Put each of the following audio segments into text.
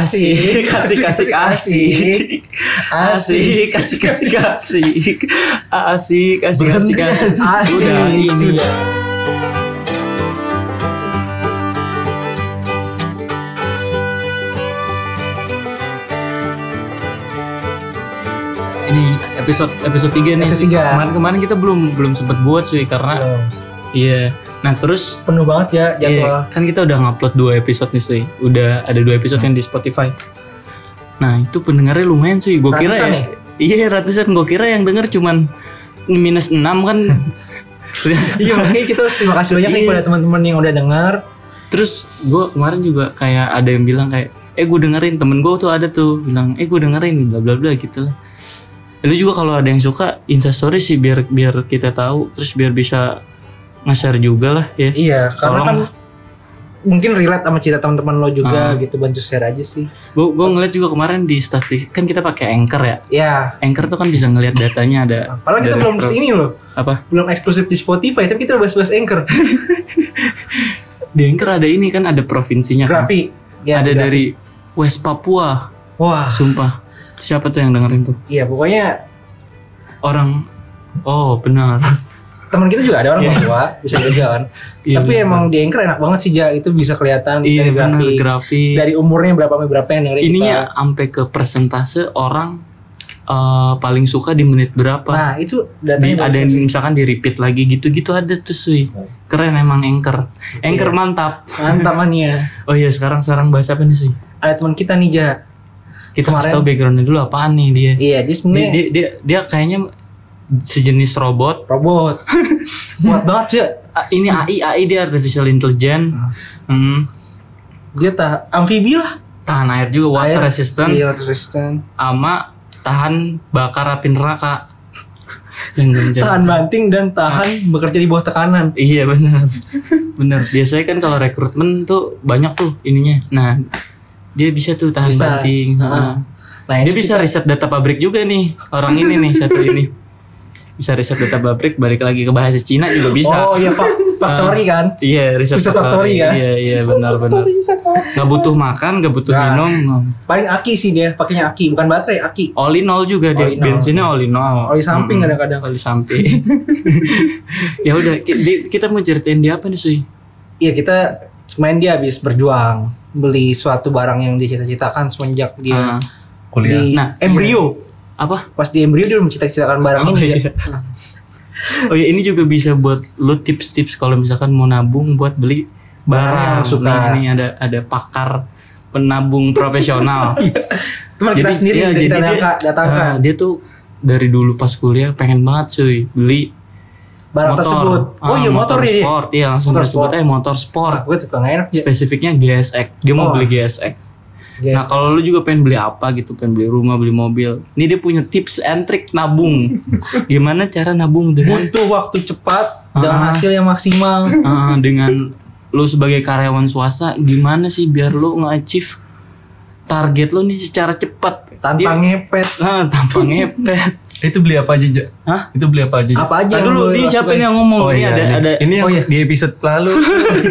asik kasih kasih kasih asik kasih kasih kasih asik kasih kasih kasih Asik. udah ini Sudah. ini episode episode 3 nih Episode Cuy. tiga. kemarin kemarin kita belum belum sempet buat sih karena Tuh, iya nah terus penuh banget ya jadwal iya, kan kita udah ngupload dua episode nih sih udah ada dua episode yang di Spotify nah itu pendengarnya lumayan sih gue kira Ratusan ya iya ratusan gue kira yang denger cuman minus 6 kan iya makanya kita harus terima kasih banyak nih Iya. pada teman-teman yang udah dengar Terus gue kemarin juga kayak ada yang bilang kayak eh gue dengerin temen gue tuh ada tuh bilang eh gue dengerin bla bla bla gitu lah. Lu juga kalau ada yang suka instastory sih biar biar kita tahu terus biar bisa nge-share juga lah ya. iya karena Tolong. kan mungkin relate sama cerita teman-teman lo juga gitu bantu share aja sih Gue gue ngeliat juga kemarin di statistik kan kita pakai anchor ya. ya Anchor tuh kan bisa ngeliat datanya Ah, ada padahal kita dari belum pro- ini loh apa belum eksklusif di Spotify tapi kita udah bahas-bahas anchor di anchor ada ini kan ada provinsinya kan. Grafik ya, ada Grafik. dari West Papua. wah Sumpah siapa tuh yang dengerin tuh iya pokoknya orang oh benar teman kita juga ada orang Papua bisa juga kan Iya, tapi benar. emang di anchor enak banget sih ja itu bisa kelihatan Iya dari benar grafik grafis. dari umurnya berapa sampai berapa yang dengerin kita Ininya sampai ke persentase orang eh, paling suka di menit berapa. nah itu Di- datanya ada yang misalkan di repeat lagi gitu-gitu ada tuh Sui. Keren emang anchor. Anchor mantap. mantap mania Oh iya sekarang sekarang bahas apa nih Sui? ya. ada teman kita nih ja Kita Kemarin- kasih tau backgroundnya dulu apaan nih dia. iya dia Dia, sebenarnya dia, dia, dia kayaknya sejenis robot. robot kuat banget ja Ah, Ini AI AI dia artificial intelligence. Ah. Hmm. dia tak amfibi lah Tahan air juga water Air- resistant. iya water resistant Ama tahan bakar api neraka. Jangan- jangan. tahan banting dan tahan bekerja di bawah tekanan Iya benar. benar. Biasanya kan kalau rekrutmen tuh banyak tuh ininya. Nah, dia bisa tuh tahan Bisa. Ah. banting. Heeh. Nah, dia bisa riset data pabrik juga nih. Orang ini nih satu ini. Bisa riset data pabrik balik lagi ke bahasa Cina juga bisa. Nah. oh iya pak factory kan Iya, riset Riset factory, ya. Iya, iya benar benar. Gak butuh makan, gak butuh Nah. minum. paling aki sih dia pakainya aki bukan baterai aki All in all juga dia All in all. bensinnya all in all. oli samping kadang-kadang All in samping. ya udah, ki- di- kita mau ceritain dia apa nih, Sui? Iya kita main dia habis berjuang beli suatu barang yang dicita-citakan semenjak dia Ah, di Nah, embrio. apa? Pas di embrio dia udah mencita-citakan barang Oh, ini. ya. iya. Oh ya ini juga bisa buat lu tips-tips kalau misalkan mau nabung buat beli Barang, barang. suka. Nih, ini ada ada pakar penabung profesional. Teman kita sendiri ya, dari Tanaka ah, dia tuh dari dulu pas kuliah pengen banget cuy beli barang motor. tersebut. Oh Ah, iya motor motor ini. sport. Iya langsung Motor motor disebut sport. aja motor sport. Gue suka nggak enak. Iya, ya. Spesifiknya GSX. Dia Oh. mau beli GSX. Iya. Nah kalau lu juga pengen beli apa gitu, pengen beli rumah, beli mobil. Ini dia punya tips and trick nabung. Gimana cara nabung dengan Butuh waktu cepat Ah. dengan hasil yang maksimal. Eh, dengan lu sebagai karyawan swasta gimana sih biar lu nge-achieve target lu nih secara cepat Tanpa Dia- ngepet. Nah, tanpa ngepet Itu beli apa aja, Ja? Hah? Itu beli apa aja? Ja? Apa aja Nah, yang dulu boleh ini siapa dilakukan? nih yang ngomong Oh ini iya, ada ini, ada ini yang di episode lalu.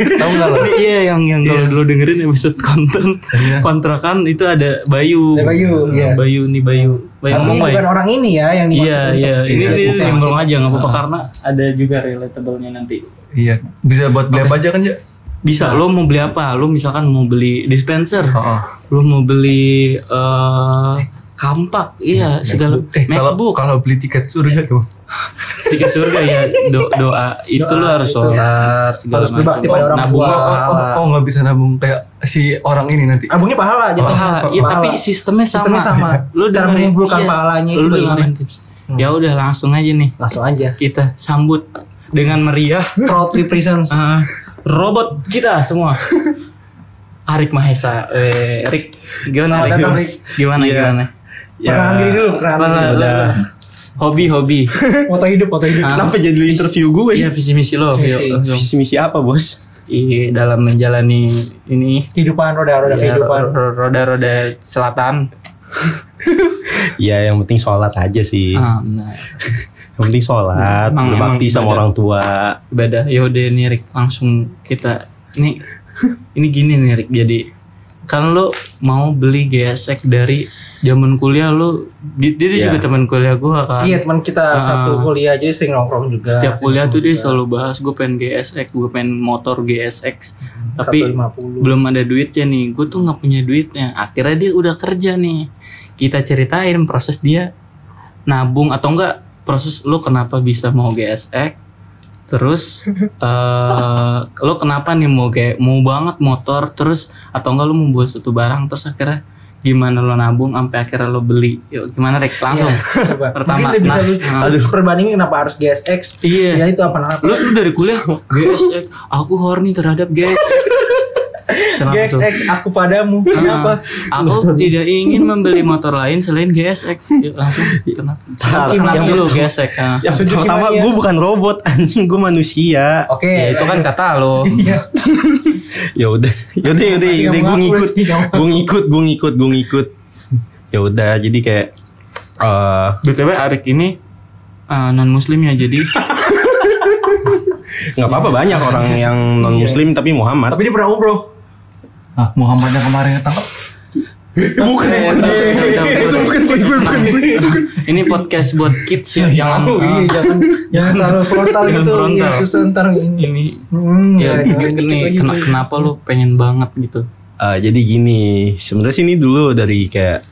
Tahu enggak lo? Ini iya yang yang kalau dulu dengerin episode konten Iya. kontrakan itu ada Bayu. Ada Bayu, Nah, iya. Bayu nih Bayu. Bayu Tapi ngomong Bayu. bukan orang ini ya yang dimaksud. Iya, untuk- Ah. iya. Ini Iya, ini bukan. nimbrung aja nggak apa-apa karena ada juga relatable-nya nanti. Iya. Bisa buat beli apa aja kan, Ja? Bisa lo mau beli apa? Lo misalkan mau beli dispenser. Heeh. lu mau beli eh kampak iya segala Eh, kalau MacBook kalau beli tiket surga tuh. tiket surga ya do- doa itu lu harus sholat segala Harus berbakti pada orang Nabung. Oh, tua. oh, oh, oh, nggak bisa nabung kayak si orang ini nanti. Abungnya pahala aja. pahala iya tapi sistemnya sama Sistemnya sama. Cara lu dengerin- iya, mengumpulkan pahalanya itu lu bagaimana? dengerin. ya udah langsung aja nih Langsung aja. kita sambut dengan meriah Proud represents. eh, robot kita semua Arik Mahesa, eh, Rik, gimana Rik? datang, Gimana Iya. gimana? Perkenalan diri dulu, perkenalan Apa- diri dulu. apa- Hobi hobi. Foto hidup, foto hidup. Ah, Kenapa jadi interview gue? Iya visi misi lo. Visi. Yuk, yuk. Visi misi apa bos? Iya dalam menjalani ini Kehidupan roda-roda ya, kehidupan. ro- roda-roda selatan. Ya yang penting sholat aja sih. Ah, nah, Yang penting sholat, Emang- berbakti emang sama ibadah. orang tua. ibadah yaudah nih Rik langsung kita nih ini gini nih Rik jadi kan lu mau beli gesek dari zaman kuliah lu di- dia, Iya. juga teman kuliah gua kan Iya teman kita Ah. satu kuliah jadi sering nongkrong juga. setiap kuliah tuh dia selalu bahas gue pengen GSX gue pengen motor GSX Hmm. tapi 150. belum ada duitnya nih gue tuh nggak punya duitnya akhirnya dia udah kerja nih kita ceritain proses dia nabung atau enggak proses lo kenapa bisa mau GSX terus eh lo kenapa nih mau kayak mau banget motor terus atau enggak lo membuat satu barang terus akhirnya gimana lo nabung sampai akhirnya lo beli Yuk, gimana rek langsung Coba. Pertama, Mungkin lebih nah, bisa lu perbandingin kenapa harus GSX? Iya. Ya itu apa apa? lu, lu dari kuliah GSX aku horny terhadap GSX Kenapa tuh? GSX aku padamu. Kenapa? Ah, aku tidak ingin membeli motor lain selain GSX Yuk, langsung Iya. kenapa Tar, kenapa yang dulu GSX ah. Yang ya. Suzuki pertama Mania. gue bukan robot anjing gue manusia. ya Oke. itu kan kata lo Iya. Ya udah, ya udah, ya udah, Masih ya udah nggak gue mengaku ngikut, sih, kamu. gue ngikut, gue ngikut, gue ngikut. Ya udah, jadi kayak eh btw Arik ini non muslim ya jadi nggak apa-apa banyak orang yang non muslim tapi Muhammad. Tapi dia pernah umroh. Ah, Muhammad yang kemarin ketangkap. bukan, Iya, Iya, Eh, ini podcast buat kids ya jangan Oh, ah, iya, jangan jangan terlalu frontal Jangan gitu. frontal. Iya, susah ntar ini. ini Hmm, ya, jangan ini gitu aja. kena- kenapa lo pengen banget gitu Eh, jadi gini, sebenarnya sih ini dulu dari kayak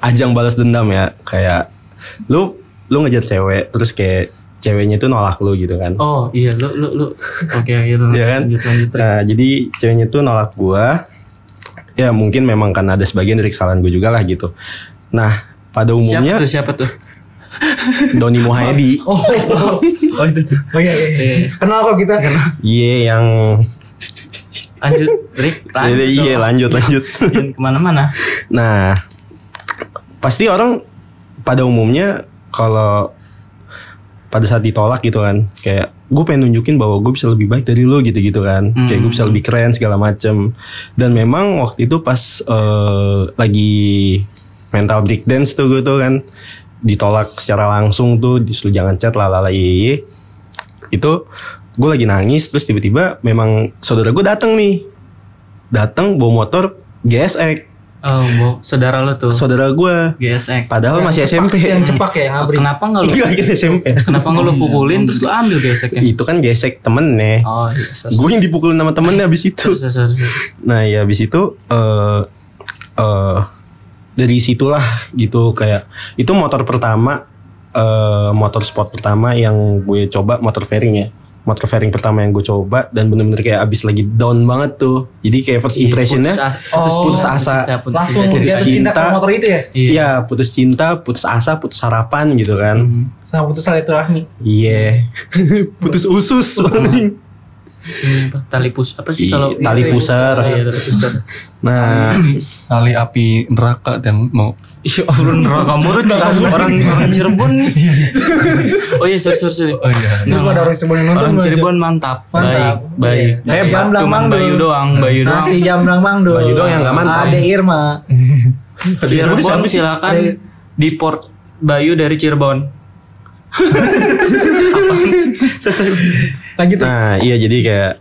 ajang balas dendam ya, kayak lu lu ngejar cewek terus kayak ceweknya itu nolak lu gitu kan. oh iya lo lo lo oke ayo Iya kan? Oh, lanjut lanjut Rik. Nah, jadi ceweknya tuh nolak gua. Ya mungkin memang karena ada sebagian dari kesalahan gue juga lah gitu. Nah, pada siapa umumnya tuh siapa tuh Doni Muhammadi, Oh, oh, oh itu tuh oh, iya, iya, iya. Kenal kok kita. iya yang lanjut Rick lanjut iya iya, lanjut lanjut. dong. jangan kemana-mana Nah, pasti orang pada umumnya kalau pada saat ditolak gitu kan, kayak gue pengen nunjukin bahwa gue bisa lebih baik dari lo gitu-gitu kan, kayak gue bisa lebih keren segala macem. Dan memang waktu itu pas eh, lagi mental breakdance tuh gue tuh kan ditolak secara langsung tuh disuruh jangan chat lalala iye iya, itu gue lagi nangis terus tiba-tiba memang saudara gue datang nih datang bawa motor GSX oh bo, saudara lo tuh saudara gue GSX padahal Oh, masih SMP Yang cepak ya, yang abri. kenapa nggak lo Iya, lagi SMP kenapa nggak lo pukulin terus lo ambil GSX-nya itu kan gesek temennya oh iya sorry gue yang dipukulin sama temennya abis itu sorry, sorry, sorry. nah ya abis itu eh eh, dari situlah gitu kayak itu motor pertama eh motor sport pertama yang gue coba motor fairing ya motor fairing pertama yang gue coba dan bener-bener kayak abis lagi down banget tuh jadi kayak first Iya, impressionnya putus a- putus, Oh. putus asa cinta, putus Langsung cinta, putus dia jadi- tuh cinta ke cinta. motor itu ya. Iya. Iya, putus cinta, putus asa, putus harapan gitu kan. Mhm. Sama putus silaturahmi. Iya. Nah, Putus usus paling. Ini apa? tali pus apa sih Iya, kalau tali pusar. Iya, tali pusar. Nah, Tali api neraka yang mau Iya, Allah neraka murut orang orang Cirebon nih. Oh iya, sorry sorry sorry. Oh iya. Ini ada orang Cirebon yang nonton, Orang gua Cirebon mantap. Mantap. Baik, baik. Iya. Hebat. Cuman Jamblang Bayu dong. doang, Bayu doang. Nasi jamblang mangdo. Bayu doang yang nggak mantap. Ada Irma. Iya. Cirebon Siapa sih? silakan Ada- deport Bayu dari Cirebon. Lanjut. Rik. nah iya jadi kayak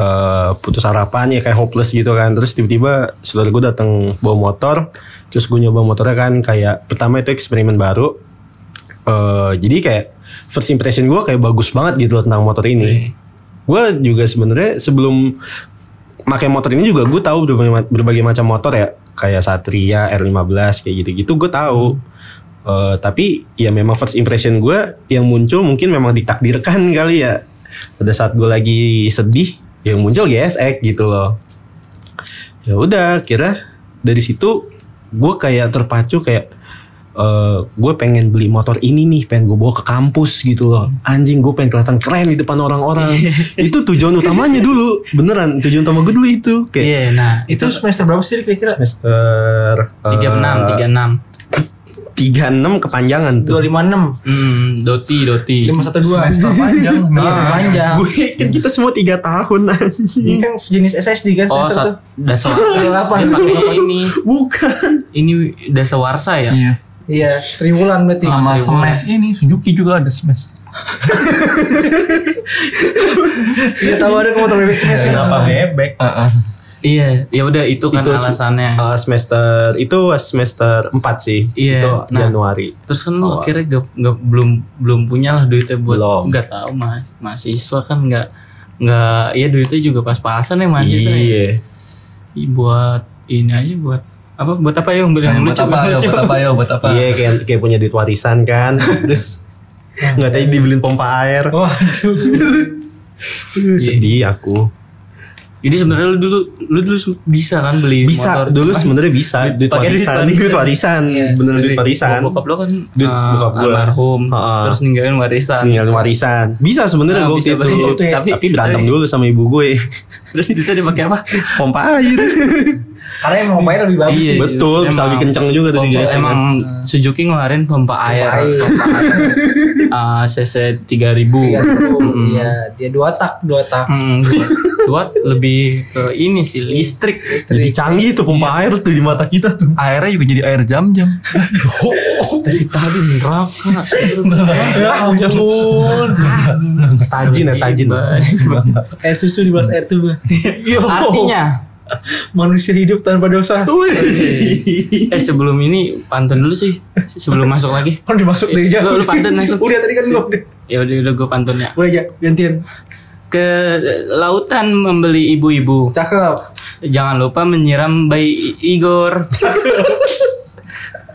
eh, putus harapan ya kayak hopeless gitu kan. Terus tiba-tiba saudara gue datang bawa motor, terus gue nyoba motornya kan kayak pertama itu eksperimen baru. Eh, jadi kayak first impression gue kayak bagus banget gitu loh tentang motor ini. Gue juga sebenarnya sebelum pakai motor ini juga gue tahu berbagai, ma- berbagai macam motor ya kayak Satria R15 kayak gitu-gitu gue tahu Eh, tapi ya memang first impression gue yang muncul mungkin memang ditakdirkan kali ya pada saat gue lagi sedih yang muncul GSX gitu loh ya udah kira dari situ gue kayak terpacu kayak eh gue pengen beli motor ini nih pengen gue bawa ke kampus gitu loh anjing gue pengen kelihatan keren di depan orang-orang itu tujuan utamanya dulu beneran tujuan utama gue dulu itu kayak Iya, nah Itu itu semester berapa sih Rik, kira-kira? semester eh, tiga enam, tiga enam. tiga enam kepanjangan tuh 256. Hmm, Doti, Doti. 512. panjang. Ah. Ah. Iya, panjang. gue kan kita semua tiga tahun anjing Ini kan sejenis SSD kan Oh, semester tuh. sat- dasar Delapan. warsa. Dia pakai ini. bukan Ini dasar warsa ya? Iya. Iya, triwulan berarti. Sama Iya. smash ini Suzuki juga ada smash. Tidak tahu ada ke motor bebek smash kan. kenapa bebek Ah, Heeh. Iya, ya udah itu kan Itu se- alasannya. Eh, semester itu semester 4 sih. Iya, Itu nah. Januari. Terus kan lu awal. akhirnya gak, gak- belum belum punya lah duitnya buat Belum. nggak tahu mas mahasiswa kan nggak nggak ya duitnya juga pas-pasan ya mahasiswa. ya. Iya. Ih, Buat ini aja buat apa buat apa ya beli yang buat lucu apa ya, lucu. buat apa ya, buat apa. Iya kayak kayak punya duit warisan kan. Terus nggak tadi dibeliin pompa air. Waduh. Aduh, Sedih aku. Jadi sebenarnya lu dulu lu dulu sem- bisa kan beli Bisa motor. dulu sebenarnya bisa duit pakai duit warisan, warisan. duit warisan, Iya. bener duit Jadi, warisan. Bokap lo kan Duit eh, bokap gua. almarhum Heeh. terus ninggalin warisan. Nih Iya, warisan. Bisa Ah, sebenarnya gue bisa waktu banget. itu. Tapi, Tapi- tapi berantem tapi- dulu sama ibu gue. Terus duitnya dipakai apa? pompa air. Karena emang main lebih bagus Iya, sih. Betul, bisa emang. lebih kenceng juga tadi Pompa- guys. emang Suzuki ngeluarin pompa air, air. pompa air. Ah, CC 3000. Iya, tuh. Mm-mm. Iya, dia dua tak, dua tak. Hmm, buat lebih ke ini sih listrik. Jadi canggih tuh pompa air tuh di mata kita tuh. Airnya juga jadi air jam-jam. Dari tadi neraka. Ya ampun. Tajin ya, tajin. Air susu di bawah air tuh. Iya. Iya. Yo. Artinya, Manusia hidup tanpa dosa. Wih. eh sebelum ini pantun dulu sih, sebelum masuk lagi. Kan dimasuk dari Eh, jauh. lu- lu pantun langsung. Udah tadi kan gua. Ya udah udah gue pantunnya. Boleh aja gantian. Ke lautan membeli ibu-ibu. Cakep. Jangan lupa menyiram bayi I- Igor.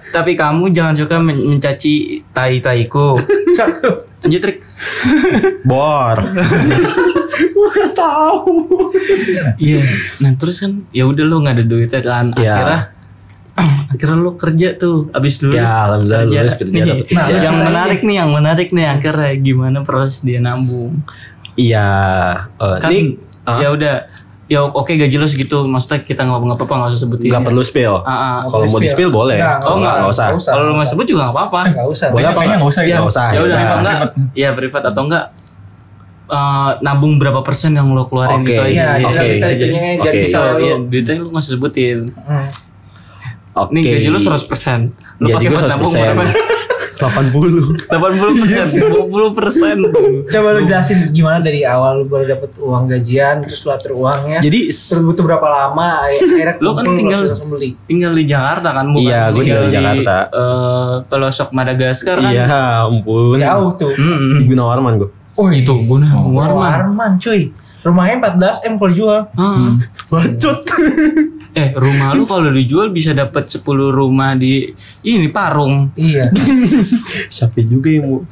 Tapi kamu jangan suka men- mencaci tai-taiku. Cakep. Lanjut trik. Bor. Gua nggak tahu. Iya. Nah terus kan ya udah lo nggak ada duitnya kan Iya. akhirnya akhirnya lo kerja tuh abis lulus. Ya, alhamdulillah lulus kerja, Nih, dapet Iya. nah, kerja. yang Nah, menarik nih yang menarik nih akhirnya gimana proses dia nambung. Iya. eh, Kan ini ya udah ya oke gaji lo segitu maksudnya kita nggak nggak apa-apa nggak usah sebutin. nggak perlu spill. Ah, ah. Kalau mau di spill boleh. Nggak, Kalau nggak nggak usah. Kalau lo nggak sebut juga nggak apa-apa. Enggak usah. gitu. Boleh apa? Kayaknya nggak usah ya. ya. Nggak usah. ya udah udah. atau enggak? Ya privat atau enggak? eh, nabung berapa persen yang lo keluarin Oke. gitu Iya, aja. Iya, Oke. kita jadinya Oke. jadi Bisa, bisa iya, lu. duitnya lo nggak usah sebutin. Hmm. Oke. Nih gaji lo 100 persen. Lo Jadi pakai gue buat 100 nabung berapa? 80. 80 persen, Iya. 20 persen. Coba lu jelasin gimana dari awal lu baru dapet uang gajian, terus lu atur uangnya. Jadi terus butuh berapa lama akhirnya Lo kan kumpul, tinggal- langsung- langsung beli. Tinggal di Jakarta kan, bukan? Iya, gua tinggal di Jakarta. eh, pelosok Madagaskar kan. iya ampun. Jauh tuh. Di Mm-mm. Gunawarman gue. Oh, Itu gue nah, Mm, Warman. Warman cuy. Rumahnya 14 M kalau jual. Ah. Hmm. Bacot. Eh, rumah lu kalau dijual bisa dapat 10 rumah di ini Parung. Iya. Siapa juga yang mau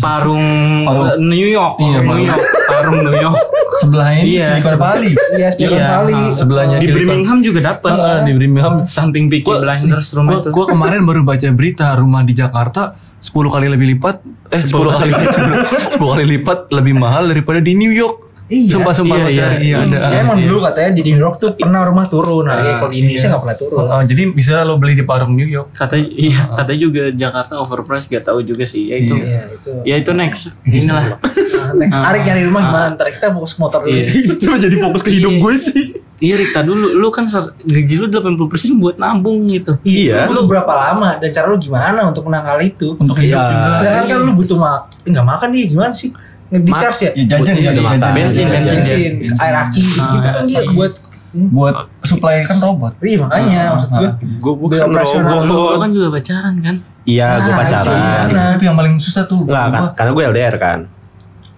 Parung, Parung. eh, New York. Iya, New Parung. York. Parung New York. Sebelahnya ini Iya. Silicon Valley. Iya, Silicon Iya. Valley. Ah, Sebelahnya Di Silicon Birmingham juga dapat. Heeh, di Birmingham. Samping Peaky Blinders Iya. rumah Gua, itu. gua kemarin baru baca berita rumah di Jakarta 10 kali lebih lipat eh 10 kali 10 kali lipat lebih mahal daripada di New York. Iya. Sumpah-sumpah Iya, lo iya. cari iya, ada. Ya, emang dulu katanya di New York tuh pernah rumah turun harganya Ah, kalau di Indonesia iya. nggak pernah turun. Oh, Heeh, Oh, jadi bisa lo beli di Parung New York. Katanya iya, katanya juga Jakarta overpriced gak tahu juga sih. Ya itu. Iya itu. Ya itu next. Inilah. Nah, next Arik nyari rumah gimana? Ntar kita fokus motor dulu. Ah, Iya. itu jadi fokus ke hidup gue sih. Iya Rita dulu lu kan ser- gaji lu 80% buat nabung gitu. Itu Iya. butuh berapa lama dan cara lu gimana untuk menangkal itu? Untuk hidup Iya. juga. Sedangkan kan lu butuh mak nggak makan nih gimana sih? Di Ma- charge ya? Ya jajan Iya, ya, ada jajan. makan. Bensin, Iya, bensin. bensin, air aki gitu, kan dia buat Buat supply kan robot. Iya makanya maksud gue Gue bukan Biar operasional. Lu, lu robot. kan juga pacaran kan? Iya, gue Ah, pacaran. iya. Itu yang paling susah tuh. buat Enggak kan, gua. karena gue LDR kan.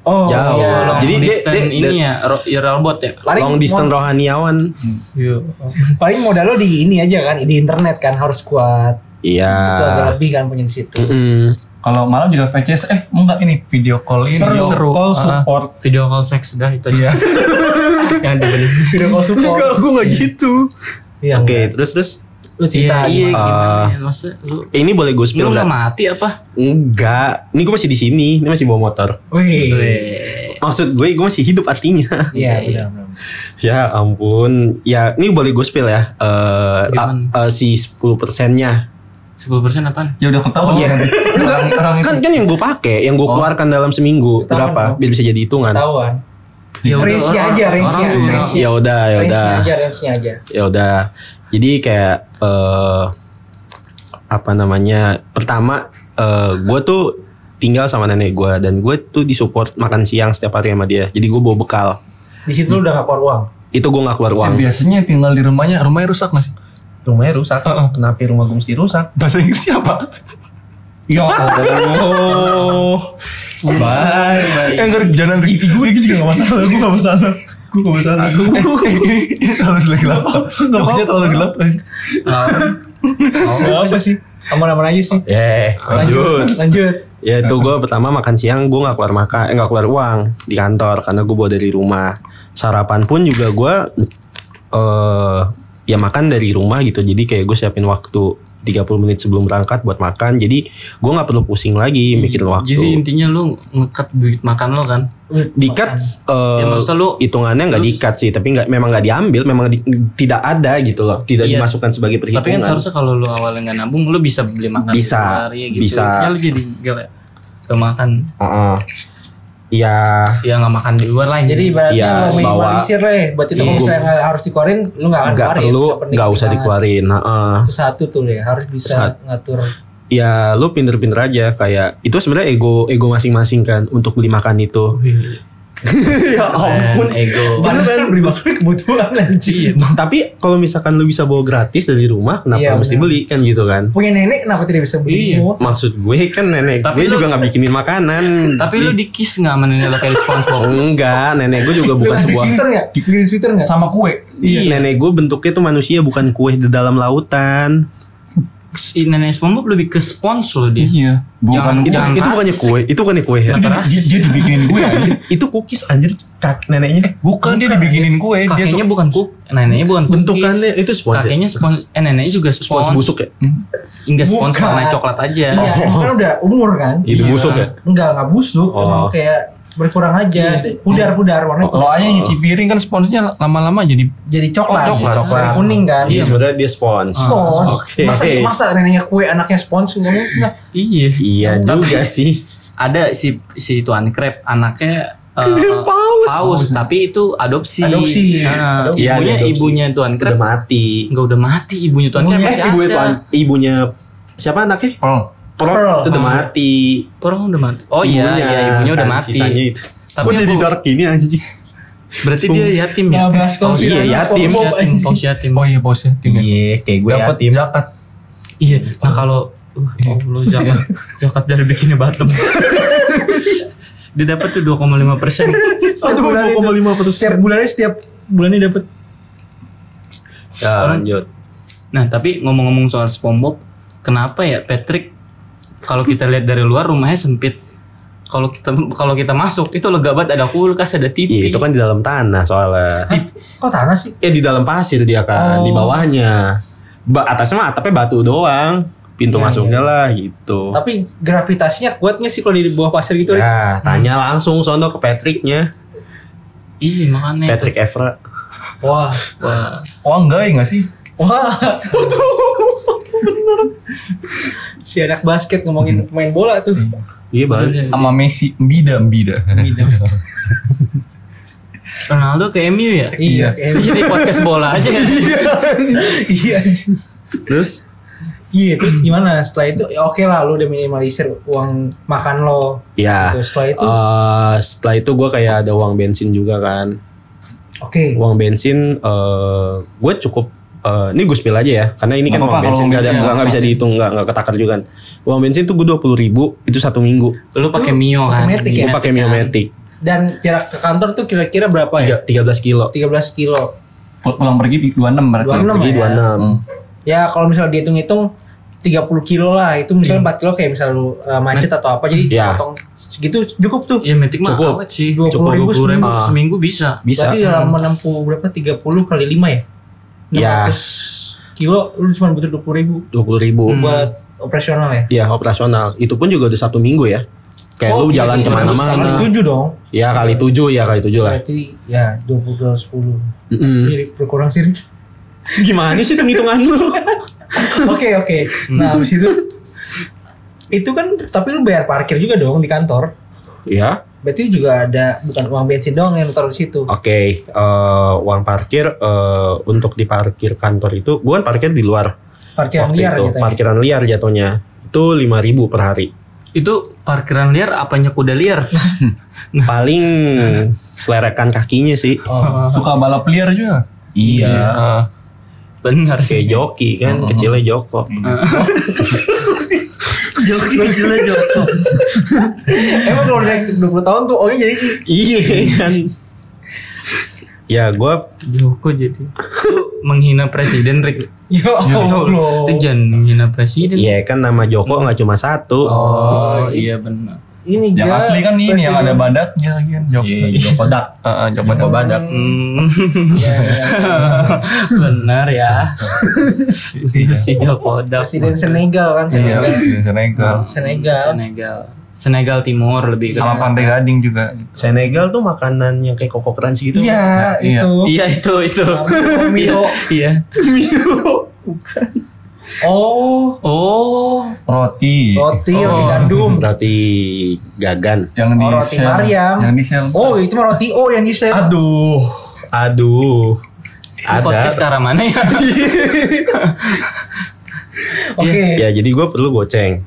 Oh Jauh. iya. Long Jadi dia- distance dia- ini ya, ro- ya robot ya. Paling Long distance rohaniawan. Iya. Paling modal lo di ini aja kan Di internet kan harus kuat Iya. Itu agak lebih kan punya di situ Mm-mm. Kalau malam juga VCS eh enggak ini video call ini Seru. video Call Ah, support. Video call seks dah itu aja. Iya. Yang dibenerin. Video call support gue gak gitu. Iya Oke, enggak. terus terus Lu Iya, cerita iya gimana? gimana Ah. ya? Maksudnya lu ini boleh gue Lu spill gak nggak? mati apa? Enggak. Ini gue masih di sini. Ini masih bawa motor. Iya, Wih Maksud gue, gue masih hidup artinya. Iya benar-benar ya ampun. Ya, ini boleh gue spill ya. Eh, Gimana? a- eh, si 10 persennya. 10% apaan? Ya udah ketahuan Iya. nanti. Orang, orang itu. Kan kan yang gue pakai, yang gue keluarkan dalam seminggu Ketahuan berapa? dong. Biar bisa jadi hitungan. Ketahuan Ya udah, Range-nya orang- aja, orang range-nya, juga- range-nya. Ya udah, ya Range-nya udah. aja range-nya aja ya udah jadi kayak eh apa namanya pertama eh gue tuh tinggal sama nenek gue dan gue tuh disupport makan siang setiap hari sama dia jadi gue bawa bekal Di situ lu udah gak keluar uang itu gue nggak keluar uang Eh, biasanya yang tinggal di rumahnya, rumahnya rusak gak sih? rumahnya rusak kenapa rumah gue mesti rusak Bahasa Inggris siapa? Ya Allah. Bye bye. Eh ntar jangan Ricky gue Ricky juga gak masalah Gue gak masalah Gue gak masalah Ini terlalu lagi gelap Maksudnya terlalu gelap gak sih? Gak apa sih? Aman-aman aja sih. Eh, Oh. lanjut. Lanjut. Ya itu gue pertama makan siang gue nggak keluar makan, eh, nggak keluar uang di kantor karena gue bawa dari rumah. Sarapan pun juga gue eh ya makan dari rumah gitu. Jadi kayak gue siapin waktu 30 menit sebelum berangkat buat makan. Jadi gue nggak perlu pusing lagi mikirin waktu. Hmm, Jadi intinya lu ngekat duit makan lo kan? dikat eh, Ya, maksudnya lu- hitungannya nggak lu- dikat sih, tapi nggak memang nggak diambil, memang di- tidak ada gitu loh, tidak Iya. dimasukkan sebagai perhitungan. Tapi kan seharusnya kalau lu awalnya nggak nabung, lu bisa beli makan Bisa, setiap hari gitu. bisa. Ya lu jadi gak ke makan, Heeh. Iya. ya nggak makan di luar lain. Jadi Jadi ibaratnya Iya, lo minimalisir lah. Berarti kalau Iya. misalnya nggak harus dikeluarin, lu nggak akan ya, nggak keluarin. perlu, Yang penting nggak usah kita- dikeluarin. Heeh. Itu satu tuh ya, harus bisa Satu. ngatur. Ya lu pinter-pinter aja kayak itu sebenarnya ego ego masing-masing kan untuk beli makan itu. ya dan ego. Padahal kan beli makan kebutuhan anjir. Tapi kalau misalkan lu bisa bawa gratis dari rumah, kenapa Iya, mesti benar. beli kan gitu kan? Punya nenek kenapa tidak bisa beli? Iya. Oh, Maksud gue kan nenek Tapi gue lu- juga nggak bikinin makanan. Oh, Tapi lu dikis nggak sama nenek lo kayak di SpongeBob? Enggak, nenek gue juga bukan Lu kasih sebuah sweater nggak? Bikin sweater nggak? Sama kue Iya. Nenek gue bentuknya tuh manusia bukan kue di dalam lautan. Si eh, Nenek SpongeBob lebih ke spons lo dia. Iya Jangan- Bukan Itu jangan- Itu- itu bukannya rasis, kue, itu bukannya kue ya. Kenapa dia- rasis? Dia dibikinin kue anjir. Itu cookies anjir kak neneknya. Bukan dia dibikinin kue Dia Kakeknya suka bukan kuk, neneknya bukan kukis. Eh, Bentukannya itu spons ya? Kakeknya spons, eh neneknya juga spons. Spons busuk ya? Enggak spons Bukan. warna coklat aja. Iya, kan udah umur kan? Itu busuk ya? Enggak, enggak busuk. Oh. Emang kayak berkurang aja. Pudar-pudar warnanya Lo aja nyuci piring kan sponsnya lama-lama jadi jadi coklat. Coklat. Dari kuning kan? Iya, sebenarnya dia spons. Ah, Spons. Ah, Oke. Masa, masa neneknya kue anaknya spons nggak mungkin lah. Iya. Iya juga sih. Ada si si tuan crab anaknya eh, Paus. paus, tapi itu adopsi. Adopsi. Nah, Adopsi. ibunya Iya, dia adopsi. ibunya tuan Udah crab mati. enggak udah mati ibunya tuan crab Ibunya- Eh, masih ibunya ada. tuan, ibunya siapa anaknya? Pearl Pearl, Pearl. itu udah Oh. mati. Orang udah mati. Oh iya, iya ibunya udah kan, mati. Sisanya itu. Tapi Kok yang jadi gua- dark gini anjing? Berarti dia yatim ya. Ngebahas Paus konspirasi iya, yatim. SpongeBob, yatim, anjing. paus yatim. Oh iya bosnya timnya. kayak Dapat zakat Iya. Nah kalau oh, lu zakat zakat dari bikinnya Batem. dia dapat tuh 2,5 persen. Setiap bulan itu- Setiap bulannya setiap bulannya dapat Ya, lanjut. Nah tapi ngomong-ngomong soal SpongeBob, kenapa ya Patrick? Kalau kita lihat dari luar rumahnya sempit. Kalau kita kalau kita masuk itu lega banget ada kulkas ada TV. Iya, itu kan di dalam tanah soalnya. kok tanah sih? Ya di dalam pasir dia kan, Oh. di bawahnya. Ba atasnya mah atapnya batu doang. Pintu Iya, masuknya lah gitu. Tapi gravitasinya kuatnya sih kalau di bawah pasir gitu. Rik? Ya, tanya langsung sono ke Patricknya. Iya makanya. Patrick Evra. Wah. Wah. Oh enggak ya enggak sih Wah. Bener. Si anak basket ngomongin pemain bola tuh. Iya, Bang. Sama Messi Mbida Mbida Ronaldo ke MU ya? Iya. Ini Jadi podcast bola aja kan? Iya. Terus Iya, terus gimana? Setelah itu ya oke lah lu udah minimalisir uang makan lo. ya Gitu. Setelah itu eh, setelah itu gue kayak ada uang bensin juga kan oke. uang bensin eh gue cukup eh, ini gue spill aja ya karena ini Nggak kan uang apa-apa, bensin kalau nggak ada bensin nggak ya, nggak bisa dihitung nggak nggak ketakar juga kan uang bensin tuh gue dua puluh ribu itu satu minggu Lu pakai Mio kan? Matic ya? gue pakai miomatic Dan jarak ke kantor tuh kira-kira berapa ya? tiga belas kilo 13 kilo. Pul- Pulang pergi di 26 berarti 26 jadi dua ya. enam Hmm. Ya kalau misalnya dihitung-hitung 30 kilo lah itu Iya. misalnya 4 kilo kayak misalnya lu uh, macet atau apa jadi Ya. potong segitu cukup tuh Iya Matic mah Cukup. awet sih. Cukup. 20 ribu, Cukup. Ah. seminggu bisa. bisa Hmm. berarti ya? dalam menempuh berapa 30 kali 5 ya 600 Ya. kilo lu cuma butuh 20 ribu dua puluh ribu buat operasional ya ya operasional itu pun juga udah satu minggu ya kayak lu jalan jadi Oh, iya, kali kemana-mana 7 dong ya kali tujuh ya kali tujuh lah berarti ya 20 kali 10 Mm-mm. jadi berkurang sih Rik. gimana sih hitung hitungan lu oke oke Hmm. nah habis itu itu kan tapi lu bayar parkir juga dong di kantor ya berarti juga ada bukan uang bensin doang yang lu taruh di situ oke eh, uang parkir eh, untuk di parkir kantor itu gue kan parkir di luar parkiran waktu liar itu gitu ya. parkiran liar jatuhnya itu lima ribu per hari Itu parkiran liar apanya kuda liar? Nah. Paling selerekan kakinya sih. Oh, ah. Suka balap liar juga. Ah. Benar Kayak sih. joki Oh. kan, kecilnya Joko. Joki kecilnya Joko. Emang kalau udah 20 tahun tuh orangnya jadi Iya kan. Ya gue Joko jadi. Lu menghina presiden Rick. Ya Allah. Rick jangan menghina presiden. Iya kan nama Joko nggak cuma satu. Oh iya benar. Ini Yang gila, asli kan ini yang presiden. Ya, ada badaknya lagi kan. Jok. Joko Dak. Ah, ah, Jok badak. Badak. Hmm. ya. benar ya. Iya, si Joko Dak. Presiden Senegal kan Iya, Senegal. presiden Senegal. Senegal. Senegal. Senegal Timur lebih ke. Sama Pantai Gading juga. Senegal tuh makanan yang kayak koko crunchy gitu. Iya, iya. itu. Iya itu itu. Mio. Iya. Oh, Oh. Roti. roti roti gandum. Berarti gagan. Oh. Yang di Oh, roti sel. Mariam. Yang di sel. Oh, itu mah roti oh yang di sel. Aduh, aduh. Podcast Ada. ke arah mana ya? Oke. Iya. Ya jadi gue perlu goceng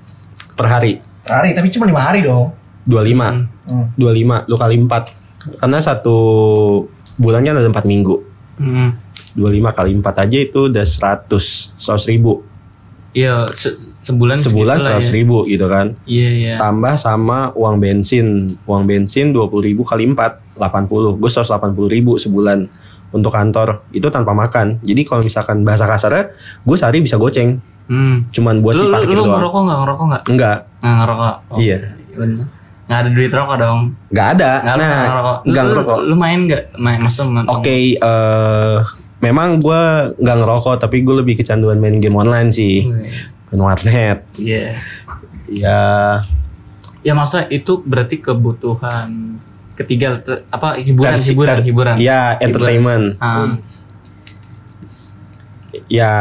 per hari Hari tapi cuma 5 hari dong. 25 Hmm. 25 lu kali 4 karena satu bulannya ada 4 minggu Hmm. 25 kali 4 aja itu udah 100 100 ribu Iya se- sebulan sebulan segitulah 100 ya. ribu gitu kan Iya iya. tambah sama uang bensin uang bensin 20 ribu kali 4 80 gue 180 ribu sebulan untuk kantor itu tanpa makan jadi kalau misalkan bahasa kasarnya gue sehari bisa goceng Hmm. cuman buat si lu, parkir lu, lu doang ngerokok nggak ngerokok nggak? enggak Nggak ngerokok. Oh, Iya. Bener. Nggak ada duit rokok dong. enggak ada Nggak nah nggak ngerokok. Lu- enggak lu, ngerokok Lu main nggak? Main maksudnya main. oke eh, memang gue nggak ngerokok tapi gue lebih kecanduan main game online sih Iya. main warnet ya Ya maksudnya itu berarti kebutuhan ketiga ter- apa hiburan Tersi- hiburan ter- hiburan. ya entertainment Ah, ya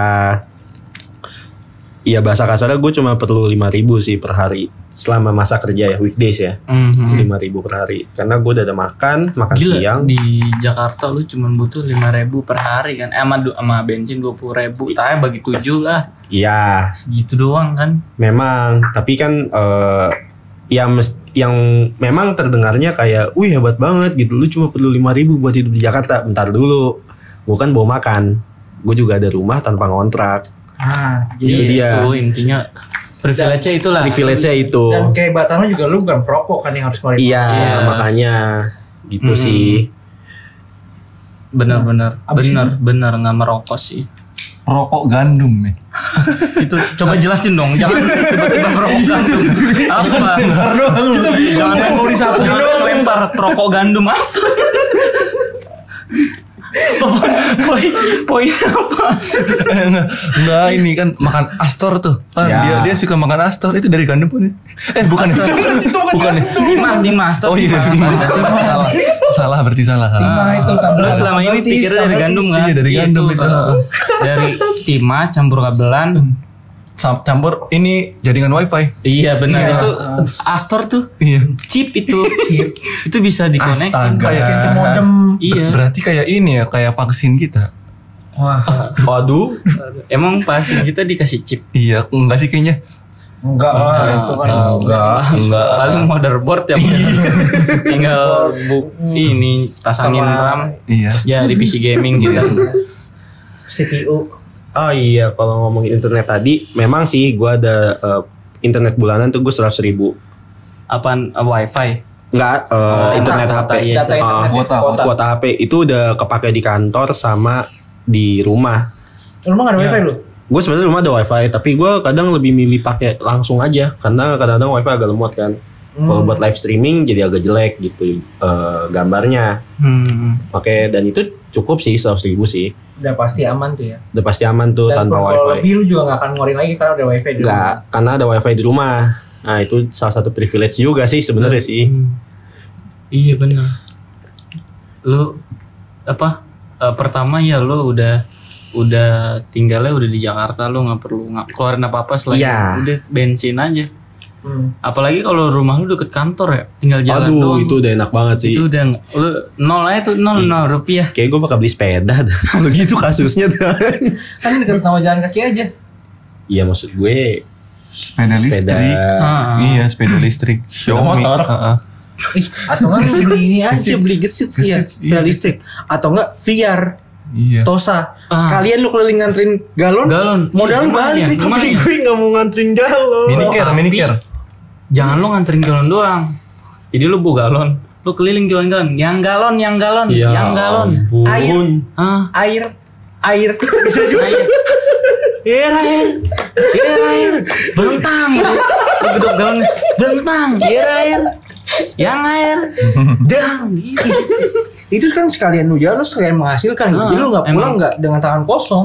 ya bahasa kasarnya gue cuma perlu 5000 sih per hari selama masa kerja ya weekdays ya mhm. 5000 per hari karena gue udah ada makan makan Gila siang di Jakarta lu cuma butuh 5000 per hari kan. Eh, sama du- sama bensin 20.000. Iya. Tanya bagi 7 lah. ya Segitu doang kan. memang tapi kan eh yang yang memang terdengarnya kayak wih hebat banget gitu lu cuma perlu 5000 buat hidup di Jakarta bentar dulu gue kan bawa makan gue juga ada rumah tanpa ngontrak Ah. Itu Iya, dia. Itu intinya privilege-nya itulah. privilege-nya itu Dan kayak Batam juga lu bukan perokok kan yang harus ngeluarin. iya Iya. makanya gitu Mm-mm. sih Benar-benar. Benar, benar nggak merokok sih. Rokok gandum ya. nih. itu coba jelasin dong, jangan Iya. tiba-tiba merokok gandum. Apa? Iya. Jangan mau disapu dong lempar rokok gandum Ah. apa? Apa- Poin poin apa? Enggak, enggak Eh, ini kan makan Astor tuh. Kan Ya. dia dia suka makan Astor itu dari gandum kan? Eh bukan ya. bukan ya. Mas Dimas, Oh iya, Dimas. Dimas. salah. Salah berarti salah. salah. Timah itu kan. Lu selama ini pikirnya dari gandum kan? Iya, dari gandum itu. Hmm. eh, Dari timah campur kabelan. Sam- Campur ini jaringan wifi. Iya benar itu Astor tuh Iya. chip itu chip itu bisa dikonek. kayak Kayak ke modem. Iya. Berarti kayak ini ya, kayak vaksin kita. Wah, Aduh, Emang pasti kita dikasih chip. Iya, enggak sih kayaknya. enggak lah itu kan. Enggak, enggak. paling motherboard ya tinggal bu ini pasangin Sama- RAM Iya. ya di PC gaming gitu CPU. Oh iya, kalau ngomongin internet tadi, memang sih gue ada eh, internet bulanan tuh gue seratus ribu. apaan eh, wifi Nggak, eh, internet HP. kuota, iya, Data Eh, internet kuota, kuota. kuota HP itu udah kepake di kantor sama di rumah. Lu mah enggak ada wifi lu? Gue sebenarnya rumah ada wifi, tapi gue kadang lebih milih pakai langsung aja, karena kadang-kadang wifi agak lemot kan. Kalau buat live streaming jadi agak jelek gitu eh, gambarnya. hmm. Oke, dan itu cukup sih seratus ribu sih, Udah pasti aman tuh ya. udah pasti aman tuh Dan tanpa kalau wifi. lebih lu juga nggak akan ngorin lagi karena ada wifi di Enggak, karena ada wifi di rumah. Nah itu salah satu privilege juga sih sebenarnya sih. iya benar lu apa eh, pertama ya lu udah udah tinggalnya udah di Jakarta lu nggak perlu nggak keluarin apa apa selain Iya. udah bensin aja rumah. Hmm. apalagi kalau rumah lu deket kantor ya tinggal jalan Aduh doang itu udah enak banget sih. itu udah nggak- lu nol aja tuh nol nol rupiah Kayak gue bakal beli sepeda dah. Kalau gitu kasusnya dah. Kan deket sama jalan kaki aja. Iya maksud gue Sepeda, Sepeda. listrik. Ah. Iya, sepeda listrik. Xiaomi. motor. Heeh. Ih, atau enggak beli ini aja beli gesit sih ya, Gesit, iya. sepeda listrik. Atau enggak VR, Iya. Tosa. Ah. Sekalian lu keliling nganterin galon. Iya, Galon. ya? Modal lu Lumayan, balik Rick. lumayan. Tapi gue gak mau nganterin galon. Minicare, tapi- minicare. Jangan lo nganterin galon doang. Jadi lo bawa galon, lo keliling jualan galon. Yang galon, yang galon, Iya. yang galon. Ya ampun. Air. Ah, Nah, iya. Air air bisa juga. air. Air, air. Air, air. Eh, Bentang. Lo gedok galon. Bentang. Air, air. Yang air. Dang. Gitu. Itu kan sekalian lu jalan lu sekalian menghasilkan gitu. Ah, Jadi lu enggak emang. Hmm. pulang enggak dengan tangan kosong.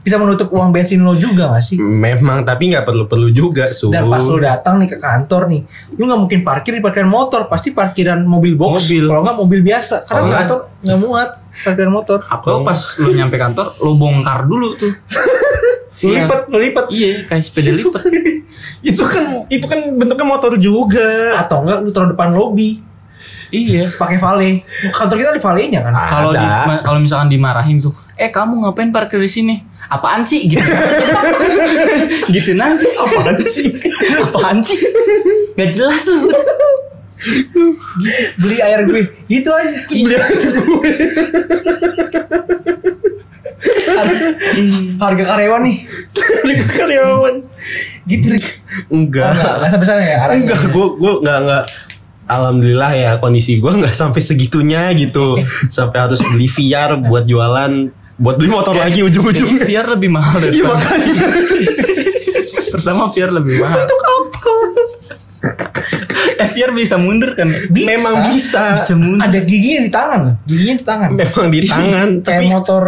Bisa menutup uang bensin lo juga gak sih? Memang tapi nggak perlu-perlu juga su. Dan pas lu datang nih ke kantor nih, lu nggak mungkin parkir di parkiran motor, pasti parkiran mobil box. Mobil. Kalau nggak mobil biasa, karena Kalau di nggak- kantor nggak muat parkiran motor. Lo pas lo nyampe kantor, lo bongkar dulu tuh. Lu lipat, lu lipat. Iya, kayak sepeda lipat. itu kan itu kan bentuknya motor juga. Atau enggak lu taruh depan lobby Iya. pakai vale. Kantor kita di valenya kan. kalau di, Ada. ma- kalau misalkan dimarahin tuh eh kamu ngapain parkir di sini apaan sih gitu gitu nanti apaan sih apaan sih nggak jelas lu Beli air gue. Itu aja. Iya. Harga, Hmm. harga karyawan nih. karyawan. Gitu Rick. Enggak. Enggak, enggak sampai sana ya arahnya. Enggak, gue gue enggak enggak Alhamdulillah ya kondisi gue nggak sampai segitunya gitu sampai harus beli VR buat jualan buat beli motor lagi ujung-ujungnya VR lebih mahal deh Iya makanya pertama VR lebih mahal itu apa eh VR bisa mundur kan Bisa. memang bisa bisa mundur Ada giginya di tangan. Giginya di tangan. memang di tangan Kayak tapi motor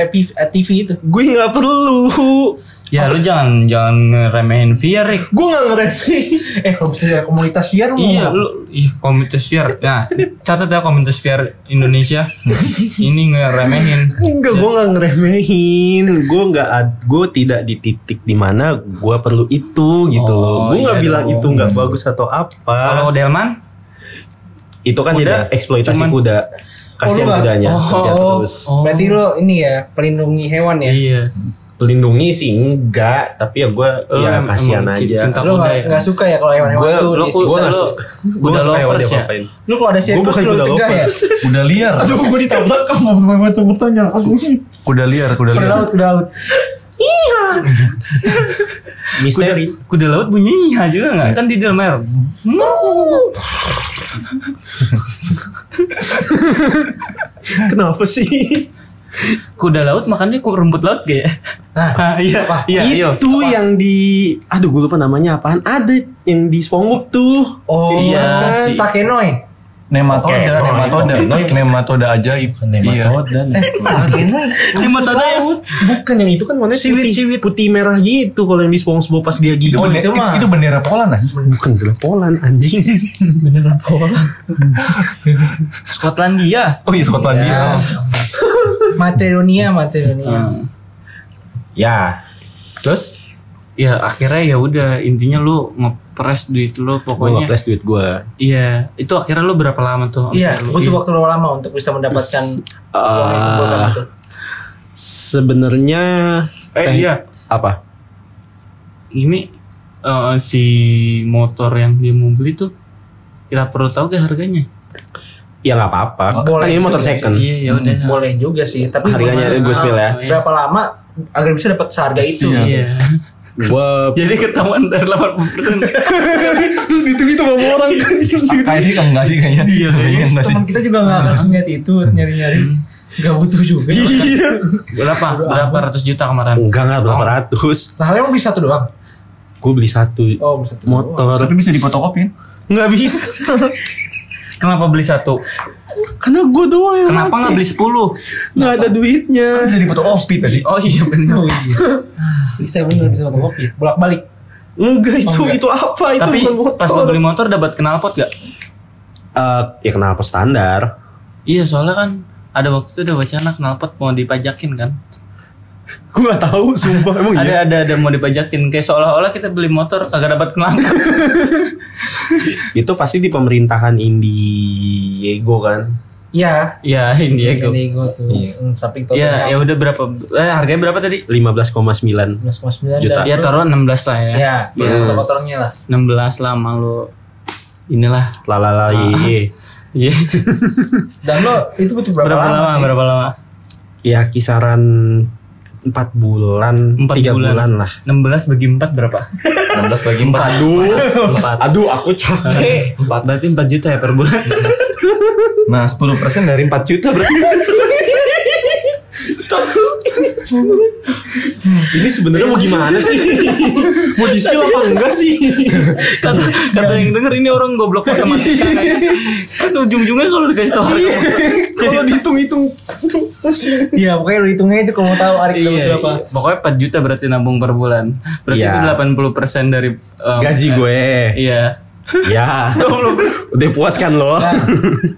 EPI eh, TV itu. gue nggak perlu ya lu jangan jangan ngeremehin VR Rick. gue nggak ngerti Eh kalau misalnya komunitas VR lu Iya, ngomong apa? lu iya, komunitas VR. Nah, catat ya komunitas VR Indonesia. ini ngeremehin. Enggak, gue nggak ngeremehin. Gue nggak, ad- gue tidak di titik dimana gue perlu itu gitu Oh, loh. Gue nggak iya bilang dong. itu nggak bagus atau apa. Kalau Delman? itu kan kuda, tidak eksploitasi cuman- kuda. Kasihan nggak- kudanya oh, kerja oh. terus. Oh. Berarti lu ini ya pelindungi hewan ya. Iya. Pelindungi sih enggak, tapi ya gue Lu ya em- kasihan emang aja. cinta- Lu kuda nggak ya. nggak suka ya kalau hewan-hewan Gue tuh. lu- di- lu- gue nggak lu- suka. kuda Gue nggak suka hewan lovers ya? diapa-apain. Lu kalau ada sirkus bukan lu kuda cegah ya. lovers. Kuda liar. Aduh, gue ditabrak. Kuda liar, kuda Ke liar. laut ke laut. Iya, Misteri. Kuda laut bunyi iya juga nggak? Kan di dalam air. Mau. Kenapa sih? Kuda laut makannya kok rumput laut gak ya? Nah, Ah, iya, apa? iya, iya. itu yang di aduh gue lupa namanya apaan ada yang di SpongeBob tuh Oh Iya, iya sih. Takenoi. Nematoda, Oke, oke, nematoda, oke. nematoda iya. ajaib. Nematoda, Eh, Takenoi. Lima ya? tanah. Bukan yang itu kan warnanya putih, putih merah gitu kalau yang di SpongeBob pas dia gigit. Iya. Oh, itu itu, mah. itu bendera Poland nah. bukan gelopolan anjing. Beneran Poland. Skotlandia. Oh iya Skotlandia. Ya. Macedonia, Macedonia. Nah, ya. Terus ya akhirnya ya udah intinya lu ngepres duit lu gue pokoknya. ngepres duit gue. Iya, itu akhirnya lu berapa lama tuh? Iya, Lu- butuh waktu lama untuk bisa mendapatkan Ah. uang yang kebutuhan itu. Sebenarnya Eh, teh- iya. apa? ini eh, si motor yang dia mau beli tuh kita perlu tahu gak harganya? Ya nggak apa-apa. Boleh kan ini motor juga second. Iya, ya udah. Boleh juga sih, tapi Harganya gimana? gue spill ya. Oh, iya. berapa lama agar bisa dapat seharga itu? Iya. Gue Jadi ketahuan dari 80%. Eh, terus ditunggu sama orang. Kayak sih enggak sih kayaknya. Iya, Hmm. Kayaknya enggak sih. Teman kita juga nggak akan seniat itu nyari-nyari. Gak butuh juga. Iya. berapa? berapa ratus juta kemarin? Enggak enggak berapa ratus. Lah emang beli satu doang? Gue beli satu Oh, beli satu. doang. Tapi motor. bisa dipotokopin. Nggak bisa. Kenapa beli satu? Karena gue doang yang Kenapa nggak beli 10? nggak ada duitnya. Bisa dipotokopin tadi. Oh iya Ah. benar. Bisa bener bisa fotokopi. Bolak-balik. Enggak itu Oh, enggak. itu apa itu Tapi bukan motor. pas lo beli motor dapat knalpot gak? Eh, ya kenapa standar? Iya, soalnya kan ada waktu itu ada wacana knalpot mau dipajakin kan? Gue nggak tahu sumpah emang ada iya. ada ada mau dipajakin kayak seolah-olah kita beli motor kagak dapat knalpot. Itu pasti di pemerintahan Indiego kan. Iya. Ya ini ya gue. Ini gue tuh. Hmm, samping total. Ya ya udah berapa? Eh, harganya berapa tadi? 15,9 Juta. juta. Ya iya. taruh 16 lah ya. Ya, kotor-kotornya lah. 16 lama lu inilah. lalala ye. Iya. Dan lo itu butuh berapa, berapa lama? lama? sih? Berapa lama? ya kisaran 4 bulan Empat 3 bulan. bulan. lah 16 bagi 4 berapa? 16 bagi 4 aduh aduh aku capek 4. Berarti 4 juta ya per bulan. Nah 10% dari 4 juta berarti ini sebenarnya mau gimana sih mau di spill apa enggak sih kata Iya. kata yang denger ini orang goblok matematika kayaknya. kan ujung-ujungnya kalau dikasih tahu Iya. kalau dihitung-hitung Iya, pokoknya lo hitungnya itu kalau mau tahu Arik lo iya, berapa. iya. pokoknya 4 juta berarti nabung per bulan berarti Iya. itu 80% dari um, gaji eh, gue iya ya udah puas kan lo Nah,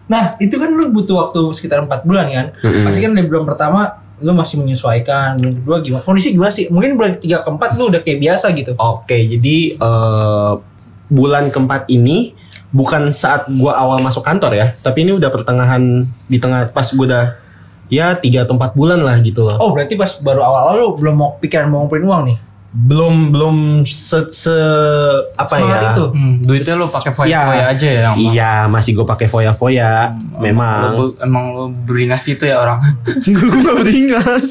nah, itu kan lo butuh waktu sekitar 4 bulan kan. Pasti kan dari bulan pertama lo masih menyesuaikan, bulan kedua gimana? Kondisi gimana sih? Mungkin bulan ketiga keempat lo udah kayak biasa gitu. Oke, jadi eh, bulan keempat ini bukan saat gua awal masuk kantor ya, tapi ini udah pertengahan di tengah pas gua udah ya tiga atau empat bulan lah gitu loh. Oh, berarti pas baru awal-awal lo belum mau pikiran mau ngumpulin uang nih. Belum belum se, se- apa Semangat ya? itu. Hmm, duitnya lo pakai foya-foya Iya. aja ya Hmm, emang. Iya, masih gua pakai foya-foya. Lo Memang. bu- emang lo beringas itu ya orang gua gak beringas.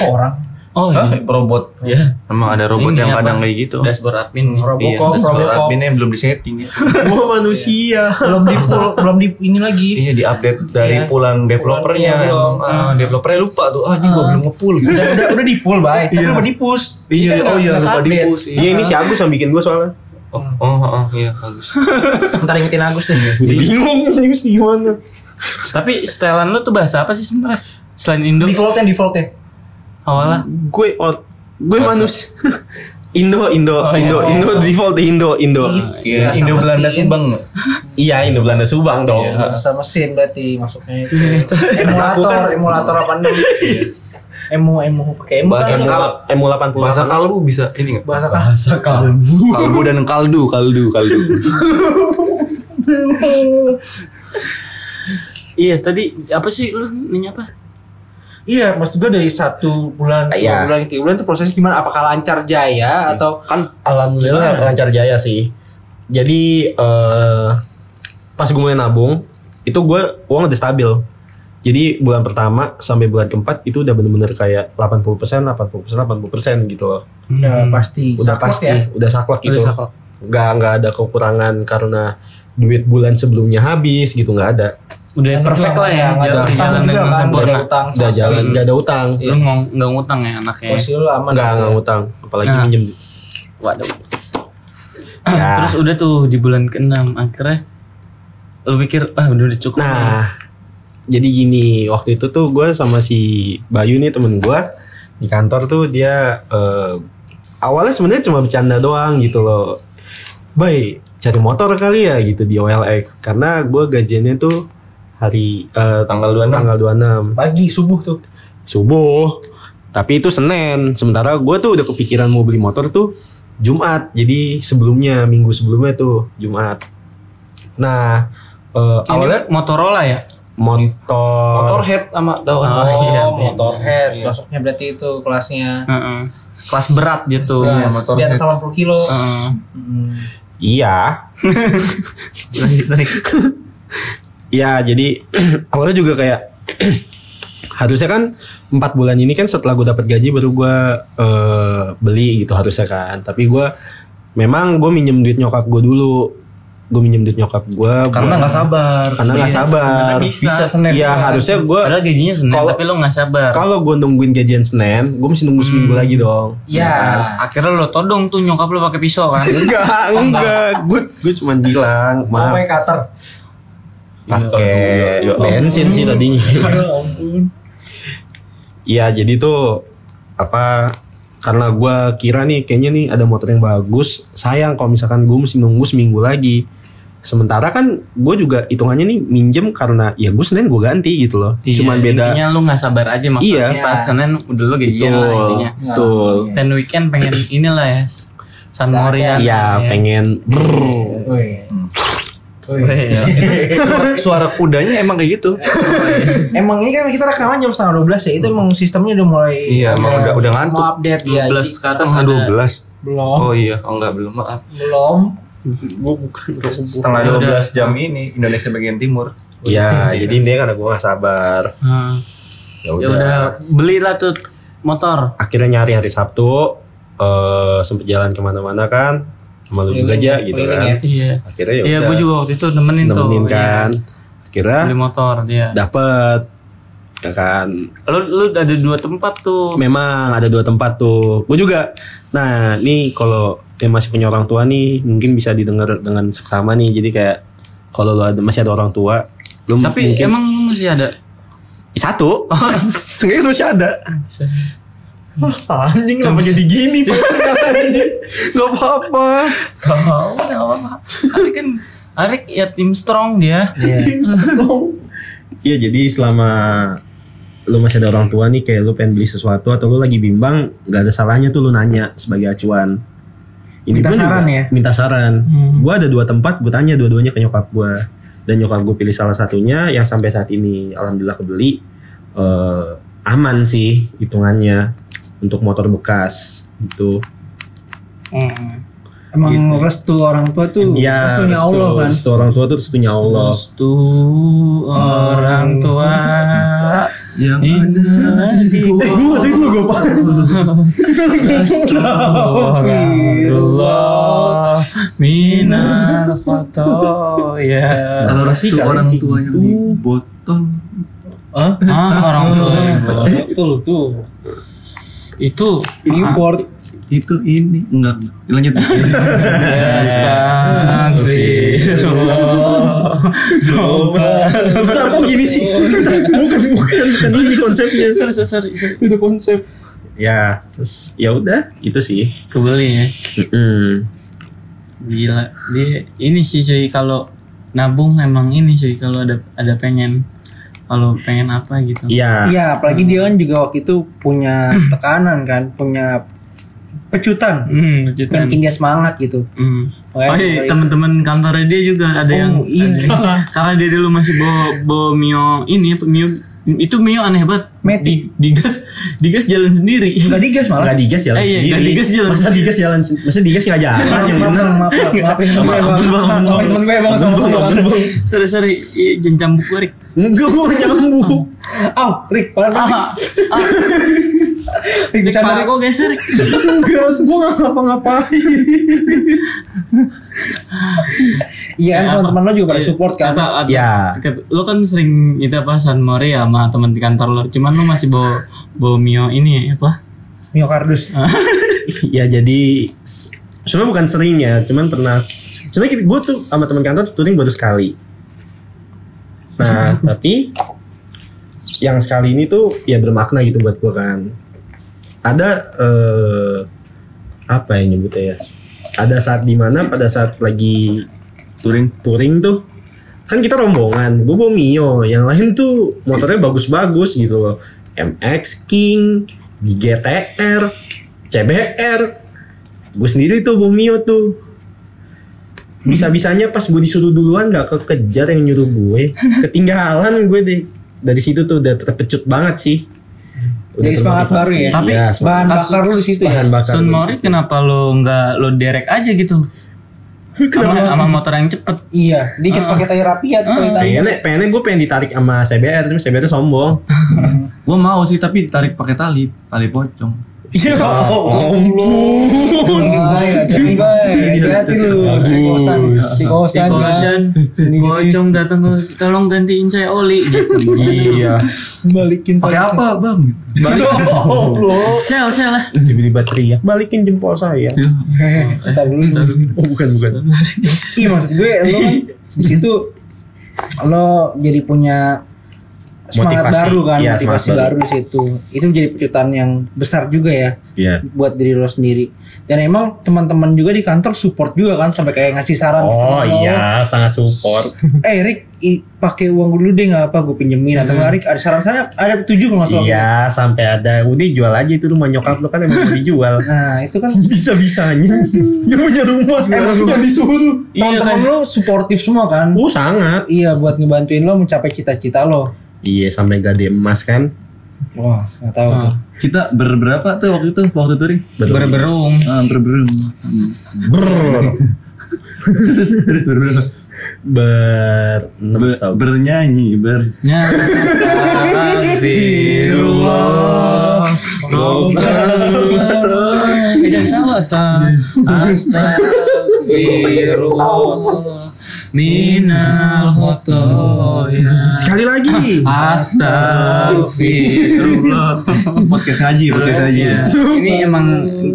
Kok orang? oh iya robot Iya. Emang ada robot Ini yang apa? kadang kayak gitu dashboard admin nih. Iya, Robocop, dashboard Robocop. adminnya belum disetting ya Gua manusia. belum di belum di ini lagi. Iya di update dari Iya. pulang developernya Pulang, iya, belum. Hmm. Ah, Developernya lupa tuh Ah ini gue belum nge-pull gitu Udah udah udah di pull, Kan Bay. Tapi lupa di push. Kita Iya, nggak- oh iya, Kan nggak lupa di update. push, iya. Iya, ini si Agus yang bikin gua soalnya. Oh, oh, oh, iya bagus Ntar ingetin Agus deh. Iya. Bingung sih mesti gimana. tapi setelan lo tuh bahasa apa sih sebenarnya selain Indo Defaultnya defaultnya. awalnya gue out gue manusia Indo Oh, Indo Indo iya. Indo default Indo Indo Iya, Bahasa Indo Belanda mesin. Subang iya Indo Belanda Subang dong Bahasa Oh, mesin berarti masuknya itu. Iya, emulator, kan? emulator apa nih? Emu, emu pakai emu Bahasa kan? Arab. Bahasa Emu 80 Bahasa kalbu bisa ini nggak? Bahasa kan? kalbu dan kaldu kaldu kaldu iya tadi apa sih lo nanya apa Iya, maksud gue dari satu bulan, dua Iya. bulan, tiga bulan itu prosesnya gimana? Apakah lancar jaya atau kan alhamdulillah lancar jaya sih jadi eh pas gue mulai nabung itu gue uang udah stabil jadi bulan pertama sampai bulan keempat itu udah bener-bener kayak 80% 80% 80% gitu loh Hmm. udah pasti udah saklek ya? pasti udah saklek gitu Udah saklek. nggak nggak ada kekurangan karena duit bulan sebelumnya habis gitu nggak ada udah Dan perfect lu lah ya nggak ada jalan utang juga jalan dengan kan, nggak sempurna ada utang. udah jalan nggak ada utang lo ngong- nggak ngutang ya anaknya Posisi lu aman. nggak nggak ngutang apalagi Nah. minjem Waduh. Ya. Terus udah tuh di bulan ke-6 akhirnya lu pikir ah udah, udah cukup. nih. nah jadi gini waktu itu tuh gue sama si Bayu nih temen gue di kantor tuh dia eh, awalnya sebenarnya cuma bercanda doang gitu loh Bay cari motor kali ya gitu di OLX karena gue gajiannya tuh hari eh, Tanggal 26. tanggal 26 Pagi subuh tuh. subuh tapi itu Senin sementara gue tuh udah kepikiran mau beli motor tuh Jumat jadi sebelumnya minggu sebelumnya tuh Jumat nah eh, Ini awalnya Motorola ya? motor Motorhead sama tau kan? Oh, iya, iya. motorhead. Masuknya berarti itu kelasnya. Heeh. Kelas berat gitu. Iya, motor di atas head. Ah. 80 kilo. Heeh. Mm. iya Lanjut, Rik. ya jadi awalnya juga kayak harusnya kan empat bulan ini kan setelah gue dapat gaji baru gue eh, beli gitu harusnya kan tapi gue memang gue minjem duit nyokap gue dulu gue minjem duit nyokap gue Karena nggak sabar. Karena nggak Iya, sabar. sebenarnya Bisa, Bisa Senin. Iya harusnya gue Padahal gajinya Senin Kalau- tapi lu nggak sabar. kalau gue nungguin gajian Senin, gue mesti nunggu seminggu Hmm. lagi dong. Iya. Iya kan? Ya. Nah, akhirnya lo todong tuh nyokap lo pakai pisau kan. Enggak, enggak. Gue gue cuman bilang, Mau maaf. cutter. Pakai Iya, iya, iya. bensin sih tadinya. ampun. Iya, jadi tuh apa karena gue kira nih kayaknya nih ada motor yang bagus sayang kalau misalkan gue mesti nunggu seminggu lagi sementara kan gue juga hitungannya nih minjem karena ya gue senin gue ganti gitu loh Iya, cuman beda Intinya lu nggak sabar aja maksudnya. Iya. Pas Senin udah lu gajian lah Betul, intinya. betul Dan weekend pengen inilah ya. San Morian. iya pengen brrr. Wih. Suara kudanya emang kayak gitu. emang ini kan kita rekaman jam setengah 12 ya itu emang sistemnya udah mulai Iya, emang agak udah- udah ngantuk. mau update ya 12 ke atas Setengah ada. dua belas. belum Oh iya, oh, enggak belum maaf. belum Gue bukan Setengah Ya dua udah. belas jam ini Indonesia bagian timur. Iya, jadi intinya karena gue gak sabar. Nah, Ya ya udah belilah tuh motor. Akhirnya nyari hari Sabtu, eh sempet jalan kemana-mana kan, sama lu juga aja gitu keliling kan. ya. Iya. Akhirnya ya Iya, udah, gue juga waktu itu nemenin, nemenin tuh. kan. Akhirnya Iya, Beli motor dia. dapet, ya kan. Lu lu ada dua tempat tuh. Memang ada dua tempat tuh. Gue juga. Nah, nih kalau yang masih punya orang tua nih, mungkin bisa didengar dengan seksama nih. Jadi kayak kalau lu ada, masih ada orang tua, lu Tapi mungkin emang masih ada. satu, sengaja masih ada. Anjing kenapa jadi gini Gak apa-apa Tahu nggak apa-apa. Arik kan Arik ya tim strong dia. Tim strong. Iya jadi selama Lu masih ada orang tua nih Kayak lu pengen beli sesuatu Atau lu lagi bimbang Gak ada salahnya tuh lu nanya Sebagai acuan Minta gua juga saran ya? Hmm. Minta saran Gue ada dua tempat Gue tanya dua-duanya ke nyokap gue Dan nyokap gue pilih salah satunya Yang sampai saat ini Alhamdulillah kebeli Eh, Aman sih Hitungannya Untuk motor bekas Gitu Hmm. emang restu orang tua tuh Uh, restunya Iya, restu- Allah kan restu orang tua tuh restunya Allah. Restu orang tua Yang ada di gua tadi gua gua Astagfirullah minal foto ya. Kalau Pasti restu kalian orang kayak tuanya gitu. di botol. Ah orang tua gua. betul tuh itu import Itu ini Ah. enggak. Lanjut. Astagfirullah Kenapa kok gini sih? bukan bukan bukan ini konsepnya. Sorry, sorry, sorry, sorry. Itu konsep. Ya, terus ya udah itu sih. Kebeli ya Mm. Gila Dia ini sih cuy Kalau nabung emang ini cuy Kalau ada ada pengen Kalau pengen apa gitu Iya. iya apalagi dia kan juga waktu itu punya tekanan kan punya pecutan Hmm, yang kejutan. tinggi semangat gitu Hmm. Makanya Oh iya, baik. teman-teman kantornya dia juga ada Oh, yang iya. ada yang- karena dia dulu masih bawa bawa Mio ini Mio itu Mio aneh banget. Matic. Di- digas digas jalan sendiri. nggak digas malah Enggak digas jalan Eh, iya, sendiri. nggak digas jalan Masa sendiri. digas jalan sendiri? Masa digas enggak jalan yang Maaf, bener. maaf, maaf, maaf, maaf, maaf, maaf, maaf, maaf, temen gue, Bang, sama gue, Bang. sorry sorry, Iya, jangan cambuk gue, Rik. Enggak gua nggak nyambung. Au, Oh, Rick, parah, Rick. Ah, ah, Rick, Rik, bercanda, parah Rick. kok geser. Rik. Enggak, gua enggak ngapa-ngapain. Iya, kan teman-teman lo juga pada Iya, support kan. Kata, kata- Iya. kata- lo kan sering itu apa San Mori ya sama teman di kantor lo. Cuman lo masih bawa bawa Mio ini apa? Miokardus. ya jadi s- sebenarnya bukan sering ya cuman pernah sebenarnya gue tuh sama teman kantor touring baru sekali nah tapi yang sekali ini tuh ya bermakna gitu buat gue kan ada eh, apa yang nyebutnya ya ada saat dimana pada saat lagi Touring. touring tuh kan kita rombongan gue bawa Mio yang lain tuh motornya bagus-bagus gitu loh MX King GTR CBR gue sendiri tuh bawa Mio tuh bisa-bisanya pas gue disuruh duluan gak kekejar yang nyuruh gue ketinggalan gue deh dari situ tuh udah terpecut banget sih Jadi semangat termotivasi. baru ya? Tapi Iya, semangat. Bahan bakar lu di situ ya. bahan bakar Sun Mori kenapa lo nggak lo derek aja gitu? Sama, sama motor yang cepet. Iya, dikit pakai tayar rapi ya cerita. pengennya, pengennya gue pengen ditarik sama CBR tapi CBR tuh sombong Gua mau sih tapi tarik pakai tali, tali pocong. Ya ampun. Jadi baik, hati lu. Di kosan, di Si Iya, kosan. Bojan, Bocong datang ke tolong gantiin saya oli. Gitu. iya Bang. Balikin Pakai apa, Bang? Sel, sel oh, lah. tiba-tiba teriak balikin jempol saya Bentar dulu. oh bukan bukan Iya maksud gue lo kan di situ lo jadi punya semangat Motivasi. baru kan Iya, motivasi semangat baru. baru di situ itu menjadi pecutan yang besar juga ya Iya. buat diri lo sendiri dan emang teman-teman juga di kantor support juga kan sampai kayak ngasih saran Oh Kalau- iya, sangat support. eh Rick i- pakai uang gue dulu deh nggak apa gue pinjemin atau nggak Rick ada saran saya ada tujuh kalau nggak salah Iya, sampai ada udah jual aja itu rumah nyokap lu kan emang mau dijual. nah itu kan Bisa-bisanya dia punya Iya, rumah yang disuruh. teman-teman lo suportif semua kan Oh, sangat. iya buat ngebantuin lo mencapai cita-cita lo Iya, sampai gade emas kan. wah nggak tahu tuh Kita berberapa tuh waktu itu? Waktu itu Ring? berberung Ah, berberum. Hmm. Ber terus terus berberapa? ber Be- bernyanyi, ber. Ya, astagfirullah. Eh, jangan ketawa, Asta. Astagfirullah. Minal khotoya. Sekali lagi. Astagfirullah. Podcast ngaji, podcast ngaji. Ya, ini emang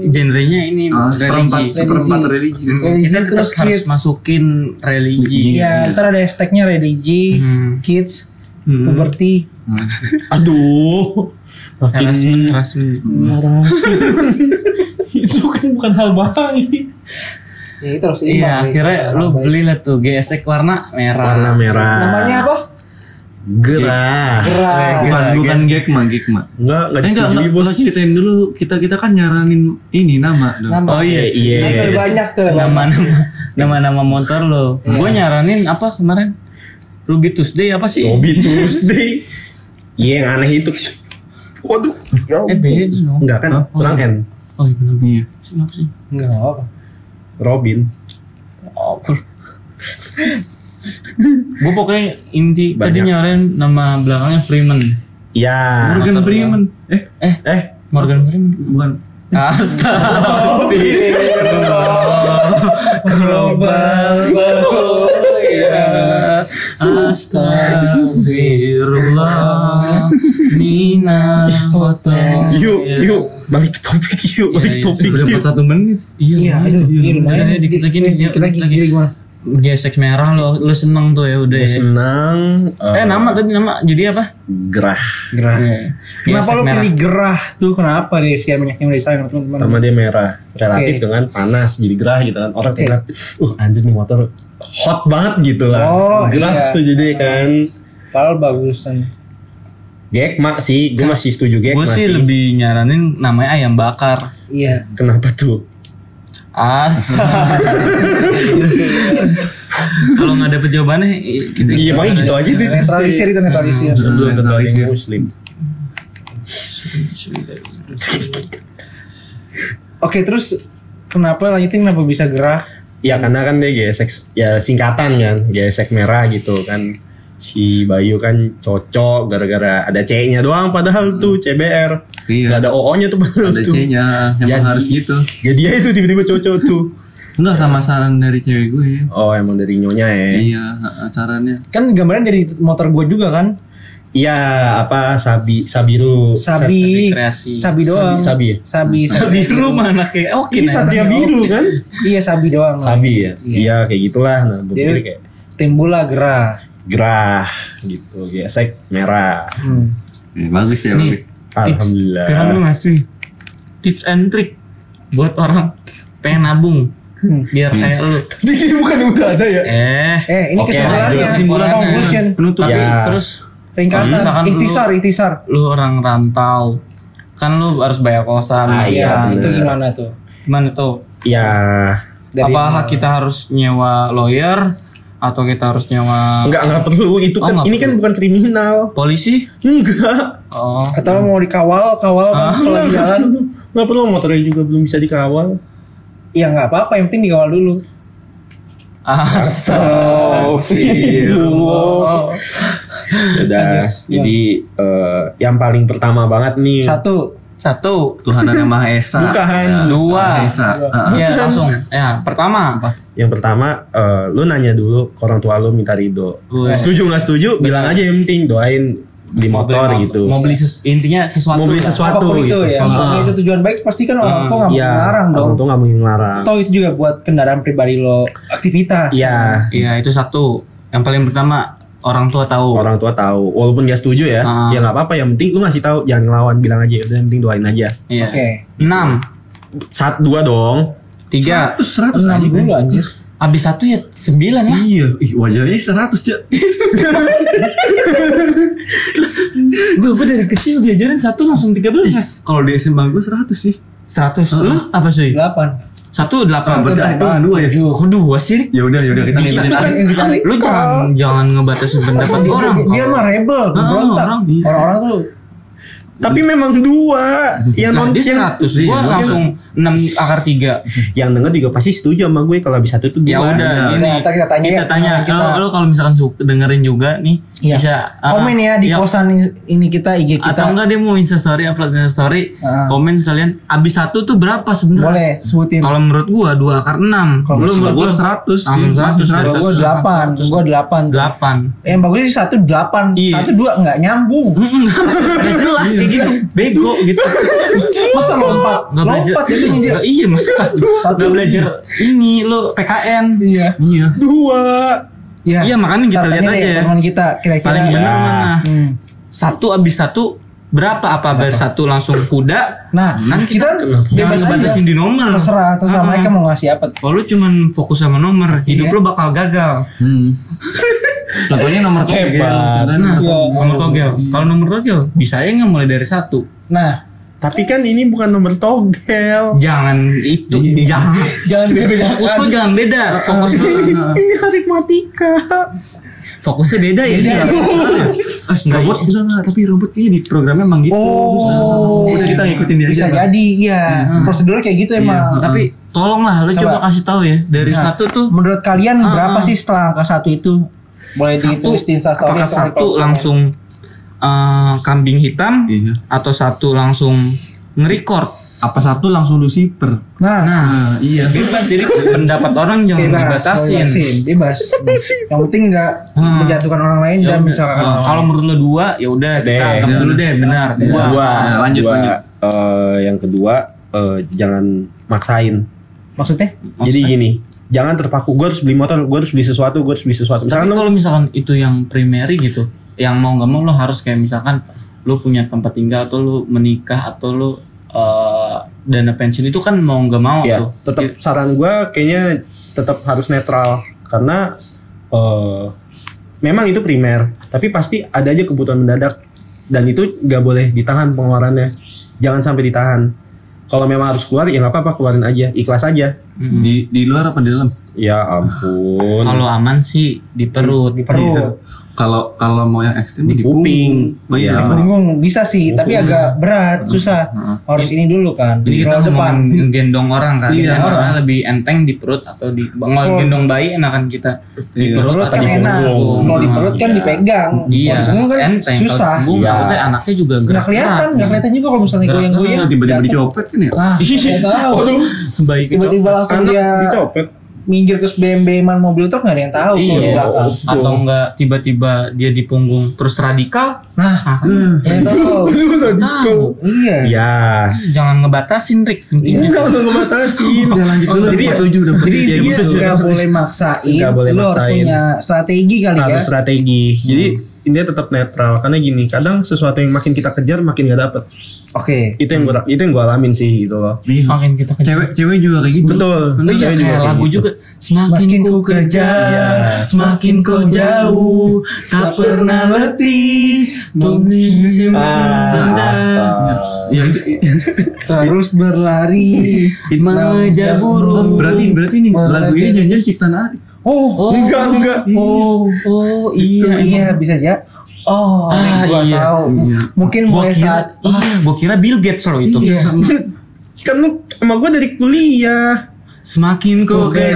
genrenya ini Ah, seperempat, religi. seperempat religi. Hmm. Kita tetap Terus harus kids. masukin religi. Iya, ntar ada hashtagnya religi, Hmm. kids, Hmm. puberty, Aduh. Harassment, harassment. Itu kan bukan hal baik. ya itu harus imbang. Iya, Rick. akhirnya lu beli lah tuh GSX warna merah. Warna merah. ya? Namanya apa? gerah. Gerah. Bukan, bukan Gekma, Gekma. Enggak, enggak Eh, enggak, disetujui, enggak, Bos. lo ceritain dulu. Kita kita kan nyaranin ini nama. dong. Nama. Oh iya, Iya. Nah, itu banyak tuh. nama nama nama nama motor lo. Gue nyaranin apa kemarin? Ruby Tuesday apa sih? Bobby Tuesday. Iya, yang aneh itu. Waduh. Eh beda dong. Enggak kan? Kurang N. Oh iya benar. Iya. Kenapa sih? Enggak apa. Robin. Gue pokoknya inti tadi Banyak. nyaranin nama belakangnya Freeman. Ya. Morgan Freeman. Eh, Eh, Morgan Freeman. bukan. Astagfirullah Global ya Astagfirullah Mina Hotel yuk, yuk, balik ke topik yuk, balik ke iya. topik Udah yuk. 41 menit. Iya, aduh, iya lumayan. Udah, dikit lagi nih, Dikit lagi, dikit lagi. dikit lagi. Gesek merah lo, lo seneng tuh ya udah ya. Senang. Eh nama tadi nama jadi apa? gerah. Gerah. Kenapa Gesek lo merah. pilih gerah tuh? Kenapa deh sekian banyak yang desain teman-teman? Pertama dia merah, relatif Oke. dengan panas, jadi gerah gitu kan. Orang Oke. kayak, uh anjir nih motor hot banget gitu lah. Oh, iya. gerah tuh jadi kan. Padahal bagusan. Gekma sih, gue masih setuju Gue Gekma sih lebih nyaranin namanya ayam bakar. Iya. Kenapa tuh? Astaga. Kalau nggak dapet jawabannya, i- kita Iya, makanya gitu aja deh. Netralisir itu netralisir. Dulu yang tentang Iya. geng muslim. Oke, terus kenapa lanjutin kenapa bisa gerah? Ya karena kan dia gesek, ya singkatan kan, gesek merah gitu kan. Si Bayu kan cocok gara-gara ada C-nya doang padahal tuh CBR. Iya. Gak ada OO-nya tuh padahal Ada tuh. C-nya. Emang Jadi- harus gitu. Ya dia itu tiba-tiba cocok tuh. Enggak sama saran dari cewek gue. ya. Oh emang dari nyonya ya. Iya, ha, sarannya. Kan gambarnya dari motor gua juga kan. Iya apa Sabi Sabiru. Sabi, kreasi. Sabi doang. Sabi, Sabi, Iya, sabi. di gitu. Hmm. rumah anaknya. Oh, Oke. Ini Satria Biru kan? Iya, sabi doang. Sabi ya. Iya kayak gitulah. Nah, gue Dia- pikir kayak Timbullah gerah. gerah gitu, gesek merah. Hmm. Eh, bagus ya, bagus. Iya, Alhamdulillah. Sekarang lu ngasih tips and trick buat orang pengen nabung biar kayak lu. Hmm. Ini bukan udah ada ya? Iya, Eh. Eh, ini Oke, kesimpulannya. lanjut. Kesimpulannya. Conclusion. Penutup. Tapi Ya. terus Ringkasan. Misalkan dulu- Ikhtisar, ikhtisar. lu orang rantau, kan lu harus bayar kosan. Ah, Iya, Iya, itu bener. gimana tuh? Gimana tuh? Ya Dari Apa kita harus nyewa lawyer atau kita harus nyewa nggak nggak perlu itu Oh, kan nggak ini kan bukan kriminal. polisi? Enggak. Oh. Atau mau dikawal, kawal kan kalau di jalan. Nggak perlu motornya juga belum bisa dikawal. Ya nggak apa-apa, yang penting dikawal dulu. Ah, Astagfirullah. Ya Udah. Jadi eh, yang paling pertama banget nih. Satu, Satu, Tuhan yang Maha Esa. Bukan. Ya, Dua. Iya, Maha Esa. Ah, ah. ya langsung. Ya pertama apa? Yang pertama, eh, lu nanya dulu ke orang tua lu minta ridho. Wih. Setuju nggak setuju? Bilang aja yang penting doain beli motor Mau beli gitu. Mau beli sesu- intinya sesuatu. Mau beli lah. sesuatu. apapun itu gitu. ya. Maksudnya itu tujuan baik, pasti kan orang tua nggak mau Iya, melarang dong. orang tua nggak mau ngelarang. Atau itu juga buat kendaraan pribadi lo aktivitas. Iya, Iya itu satu. Yang paling pertama orang tua tahu. orang tua tahu walaupun gak setuju ya Ah. ya nggak apa-apa yang penting lu ngasih tahu jangan ngelawan bilang aja "Ya udah yang penting doain aja Iya. Oke. Enam, saat dua dong tiga, Terus 100 Iya. Enam anjing. dulu anjir. abis satu ya sembilan lah. Iya, ih wajarnya 100, Cak. Gue gue dari kecil diajarin satu langsung tiga belas. Kalau di SMA gue 100 sih. Seratus. Lu apa sih? Delapan. Satu Ah, delapan. berarti apa dua ya? Kok dua sih? Ya udah, Nah, ya udah kita ngikutin Kan yang ditarik. Lu jangan jangan ngebatasin pendapat Dia, orang. dia, dia mah rebel, berontak. orang, iya. Orang-orang tuh tapi memang dua yang Nah, non dia yang, 100 Gua Iya. langsung 6 akar 3 yang denger juga pasti setuju sama gue kalau habis satu itu Ya dua udah Nah, gini ntar kita tanya ya. Kita tanya Nah, kita- Kalau- Kalau kalau misalkan suka dengerin juga nih Iya. Bisa ah, komen ya di iya. kosan ini- ini kita IG kita. Atau enggak dia mau instastory Upload instastory Ah. Komen sekalian Abis satu tuh berapa sebenarnya boleh sebutin. Kalau menurut gua 2 akar 6 Kalau Lu menurut gua Gue 100 sih. Langsung Masih 100 Kalau gue 100, delapan, gue delapan. 8 Yang bagusnya satu delapan, Iya. satu dua nggak nyambung. Gak jelas sih gitu Bego gitu Masa lompat, Gak belajar lompat itu Iya, nyinjir. nggak- Iya maksudnya Gak belajar Ini lu PKN Iya. Iya. dua Iya, makanya kita Ntar lihat tanya deh aja ya. Teman kita kira-kira Paling bener Ya. mana Hmm. Satu abis satu Berapa apa abis satu langsung kuda Nah, Kan kita, Jangan bebas Ya, aja. ngebatasin di nomor Ah, Terserah, Ah. terserah mereka mau ngasih apa. Kalau lu cuman fokus sama nomor Hidup Iya. lu bakal gagal Hmm. Contohnya nomor togel. Nah Iya. nomor togel Kalau nomor togel Bisa aja nggak mulai dari satu Nah, tapi kan ini bukan nomor togel Jangan itu Jangan Iya. jangan Iya, Fokus dibedakan. lu jangan beda Fokus lu ini aritmatika Fokusnya beda Iya. ya dia. Nggak Robot bisa nggak? Tapi robot kayaknya di programnya emang gitu. susah. Oh. Udah kita ngikutin dia Oh, Bisa aja. Iya. lah. jadi, iya. Prosedurnya kayak gitu Ah, emang. Tapi tolonglah lu coba Coba. Nah. kasih tahu ya Dari satu tuh Menurut kalian berapa sih setelah angka satu itu? Boleh Ah, satu ditulis di Instastory apakah atau satu di- langsung eh, kambing hitam Iya. atau satu langsung ngerekord Apa satu langsung Lucifer? Nah, nah Iya. bebas jadi pendapat orang jangan bebas, iya dibatasin bebasin, bebas. Yang penting nggak Hmm. menjatuhkan orang lain Ya dan udah. mencelakakan Eh, orang lain. kalau menurut lu dua ya udah kita Deh. anggap dulu deh benar dua dua Nah, lanjut, Dua. lanjut. Eh, yang kedua eh, jangan maksain maksudnya? jadi gini jangan terpaku gue harus beli motor gue harus beli sesuatu gue harus beli sesuatu Tapi misalkan lu kalau misalkan itu yang primary gitu yang mau nggak mau lo harus kayak misalkan lo punya tempat tinggal atau lo menikah atau lo eh, dana pensiun itu kan mau nggak mau ya tuh tetap saran gue kayaknya tetap harus netral karena eh, memang itu primer tapi pasti ada aja kebutuhan mendadak dan itu nggak boleh ditahan pengeluarannya jangan sampai ditahan kalau memang harus keluar ya nggak apa-apa keluarin aja ikhlas aja Di di luar apa di dalam? ya ampun Hmm. kalau aman sih di perut Di perut. Iya. Kalau kalau mau yang ekstrim Di kuping. Oh, iya. Iya. Bingung, bisa sih, tapi Oh. agak berat, susah. Harus ini dulu kan, Jadi di Ah. kita round depan. ngomong gendong orang kan, Iya. Gendong orang lebih enteng di perut atau di kalau gendong bayi enakan kita di Iya. perut Perut atau kan di enak, punggung. kalau di perut kan Iya. dipegang. Iya, Kalau punggung kan enteng. susah. Iya. Kalau punggung takutnya anaknya juga Nggak gerak. kelihatan, nggak kelihatan juga kalau misalnya goyang-goyang. Nah, tiba-tiba jatuh. dicopet kan ya? Ah, nggak tahu. Bayi kecil. Tiba-tiba langsung anak dia dicopet minggir terus BMB-man mobil truk nggak ada yang tahu kalau di Iya. belakang. Atau enggak tiba-tiba dia di punggung terus radikal. Nah, Ah, nggak tahu. tahu. Iya. ya Jangan ngebatasin Rick intinya. Enggak udah ngebatasin. Udah lanjut dulu. Jadi Empat tujuh udah Jadi berhenti Iya. ya, dia gitu. nggak boleh maksain. Nggak boleh Lu harus maksain. punya strategi kali ya. harus strategi. Jadi intinya tetap netral karena gini, kadang sesuatu yang makin kita kejar makin gak dapet. Oke. Itu yang gua itu yang gua alamin sih gitu loh. Iya. Makin kita kejar. Cewek cewek juga kayak gitu. Betul. Bener, Saya ya, juga kayak kayak lagu gitu. juga Semakin Makin ku ku kejar Semakin kau jauh Tak pernah letih Tunggu Ah, sendal Iya, itu- Terus berlari. Mengejar burung Oh, berarti berarti nih lagu ini nyanyian ciptaan Ari. Oh, Oh, Enggak, enggak. Oh, oh iya iya bisa ya. Oh, Ah, gua iya. tahu. Iya. Mungkin Gue mulai saat kira Iya Gue kira Bill Gates loh itu Iya. Kan lu sama gua dari kuliah. Semakin kau kejar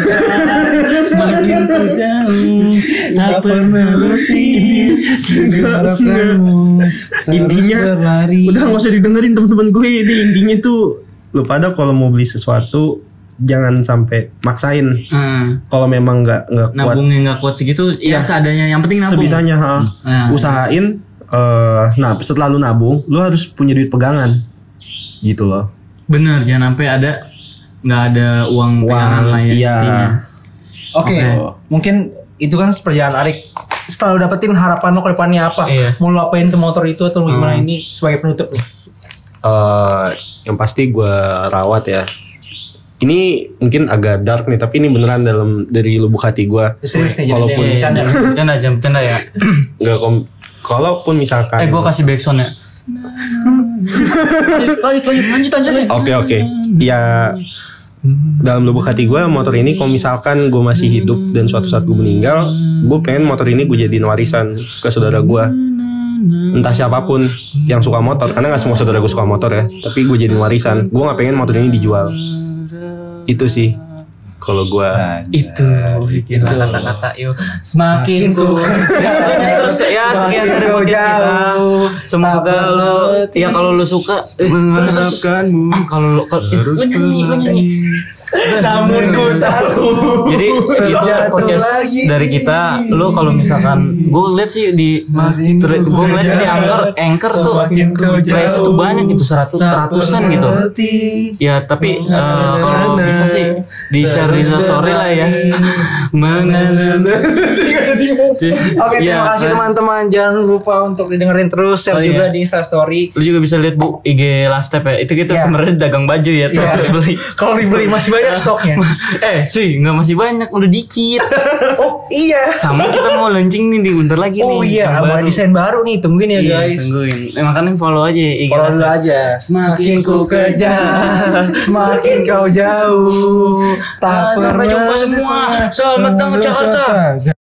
Semakin kau jauh Tak pernah letih Di harapanmu, kan terus Intinya, berlari. Udah nggak usah didengerin teman-teman gue ini intinya tuh lu pada kalau mau beli sesuatu jangan sampai maksain. Hmm. Kalau memang nggak nggak kuat nabungnya nggak kuat segitu ya, Ya. seadanya yang penting nabung sebisanya ha. Ah, iya. Nah. usahain eh nah setelah lu nabung lu harus punya duit pegangan gitu loh bener jangan sampai ada nggak ada uang pegangan lah ya iya. intinya. Oke, Oke. mungkin itu kan perjalanan Arik selalu dapetin harapan lo ke depannya apa Iya. Hmm. mau lo apain tuh motor itu atau lo gimana ini sebagai penutup nih eh yang pasti gue rawat ya. Ini mungkin agak dark nih, tapi ini beneran dalam dari lubuk hati gue. serius nih jadi Walaupun- dia Iya, bercanda iya, bercanda jam bercanda ya. Nggak kom- kalaupun misalkan. Eh, gue kasih backsound ya. lanjut, lanjut, lanjut, lanjut. Oke oke. Ya dalam lubuk hati gue motor ini kalau misalkan gue masih hidup dan suatu saat gue meninggal, gue pengen motor ini gue jadiin warisan ke saudara gue. Entah siapapun yang suka motor, karena nggak semua saudara gue suka motor ya. Tapi gue jadiin warisan. Gue nggak pengen motor ini dijual. Itu sih kalau gue. Itu bikin kata-kata yuk semakin ku ya, terus ya sekian dari ku podcast kita. jauh, Semoga tak lo ya kalau lo suka eh, Mengharapkanmu Ah, kalau lo kalau harus kembali. namun ku Iya. tahu Jadi itu Jatuh podcast lagi. dari kita. Lu kalau misalkan gue lihat sih di gue ngeliat sih di Anchor, Anchor tuh Semakin Nah, kau price tuh jauh, banyak gitu seratus ratusan gitu. Ya tapi Nah, eh, kalau bisa sih di share di sore lah nah, ya. Mengenai Oke terima Iya, kasih kan. teman-teman Jangan lupa untuk didengerin terus Share Oh, iya. juga di instastory lu juga bisa lihat bu IG last step ya itu kita Iya. sebenarnya dagang baju ya tuh Iya. beli Kalau dibeli masih banyak stoknya eh sih nggak masih banyak udah dikit Oh iya sama kita mau launching nih di bentar lagi nih Oh yang iya Ada baru. desain baru nih Tungguin ya Iya, guys tungguin. Eh, makanya follow aja ya IG Follow Last dulu Step. aja Semakin ku kejar, Semakin kau jauh Ah, sampai jumpa semua. Selamat datang ke Jakarta.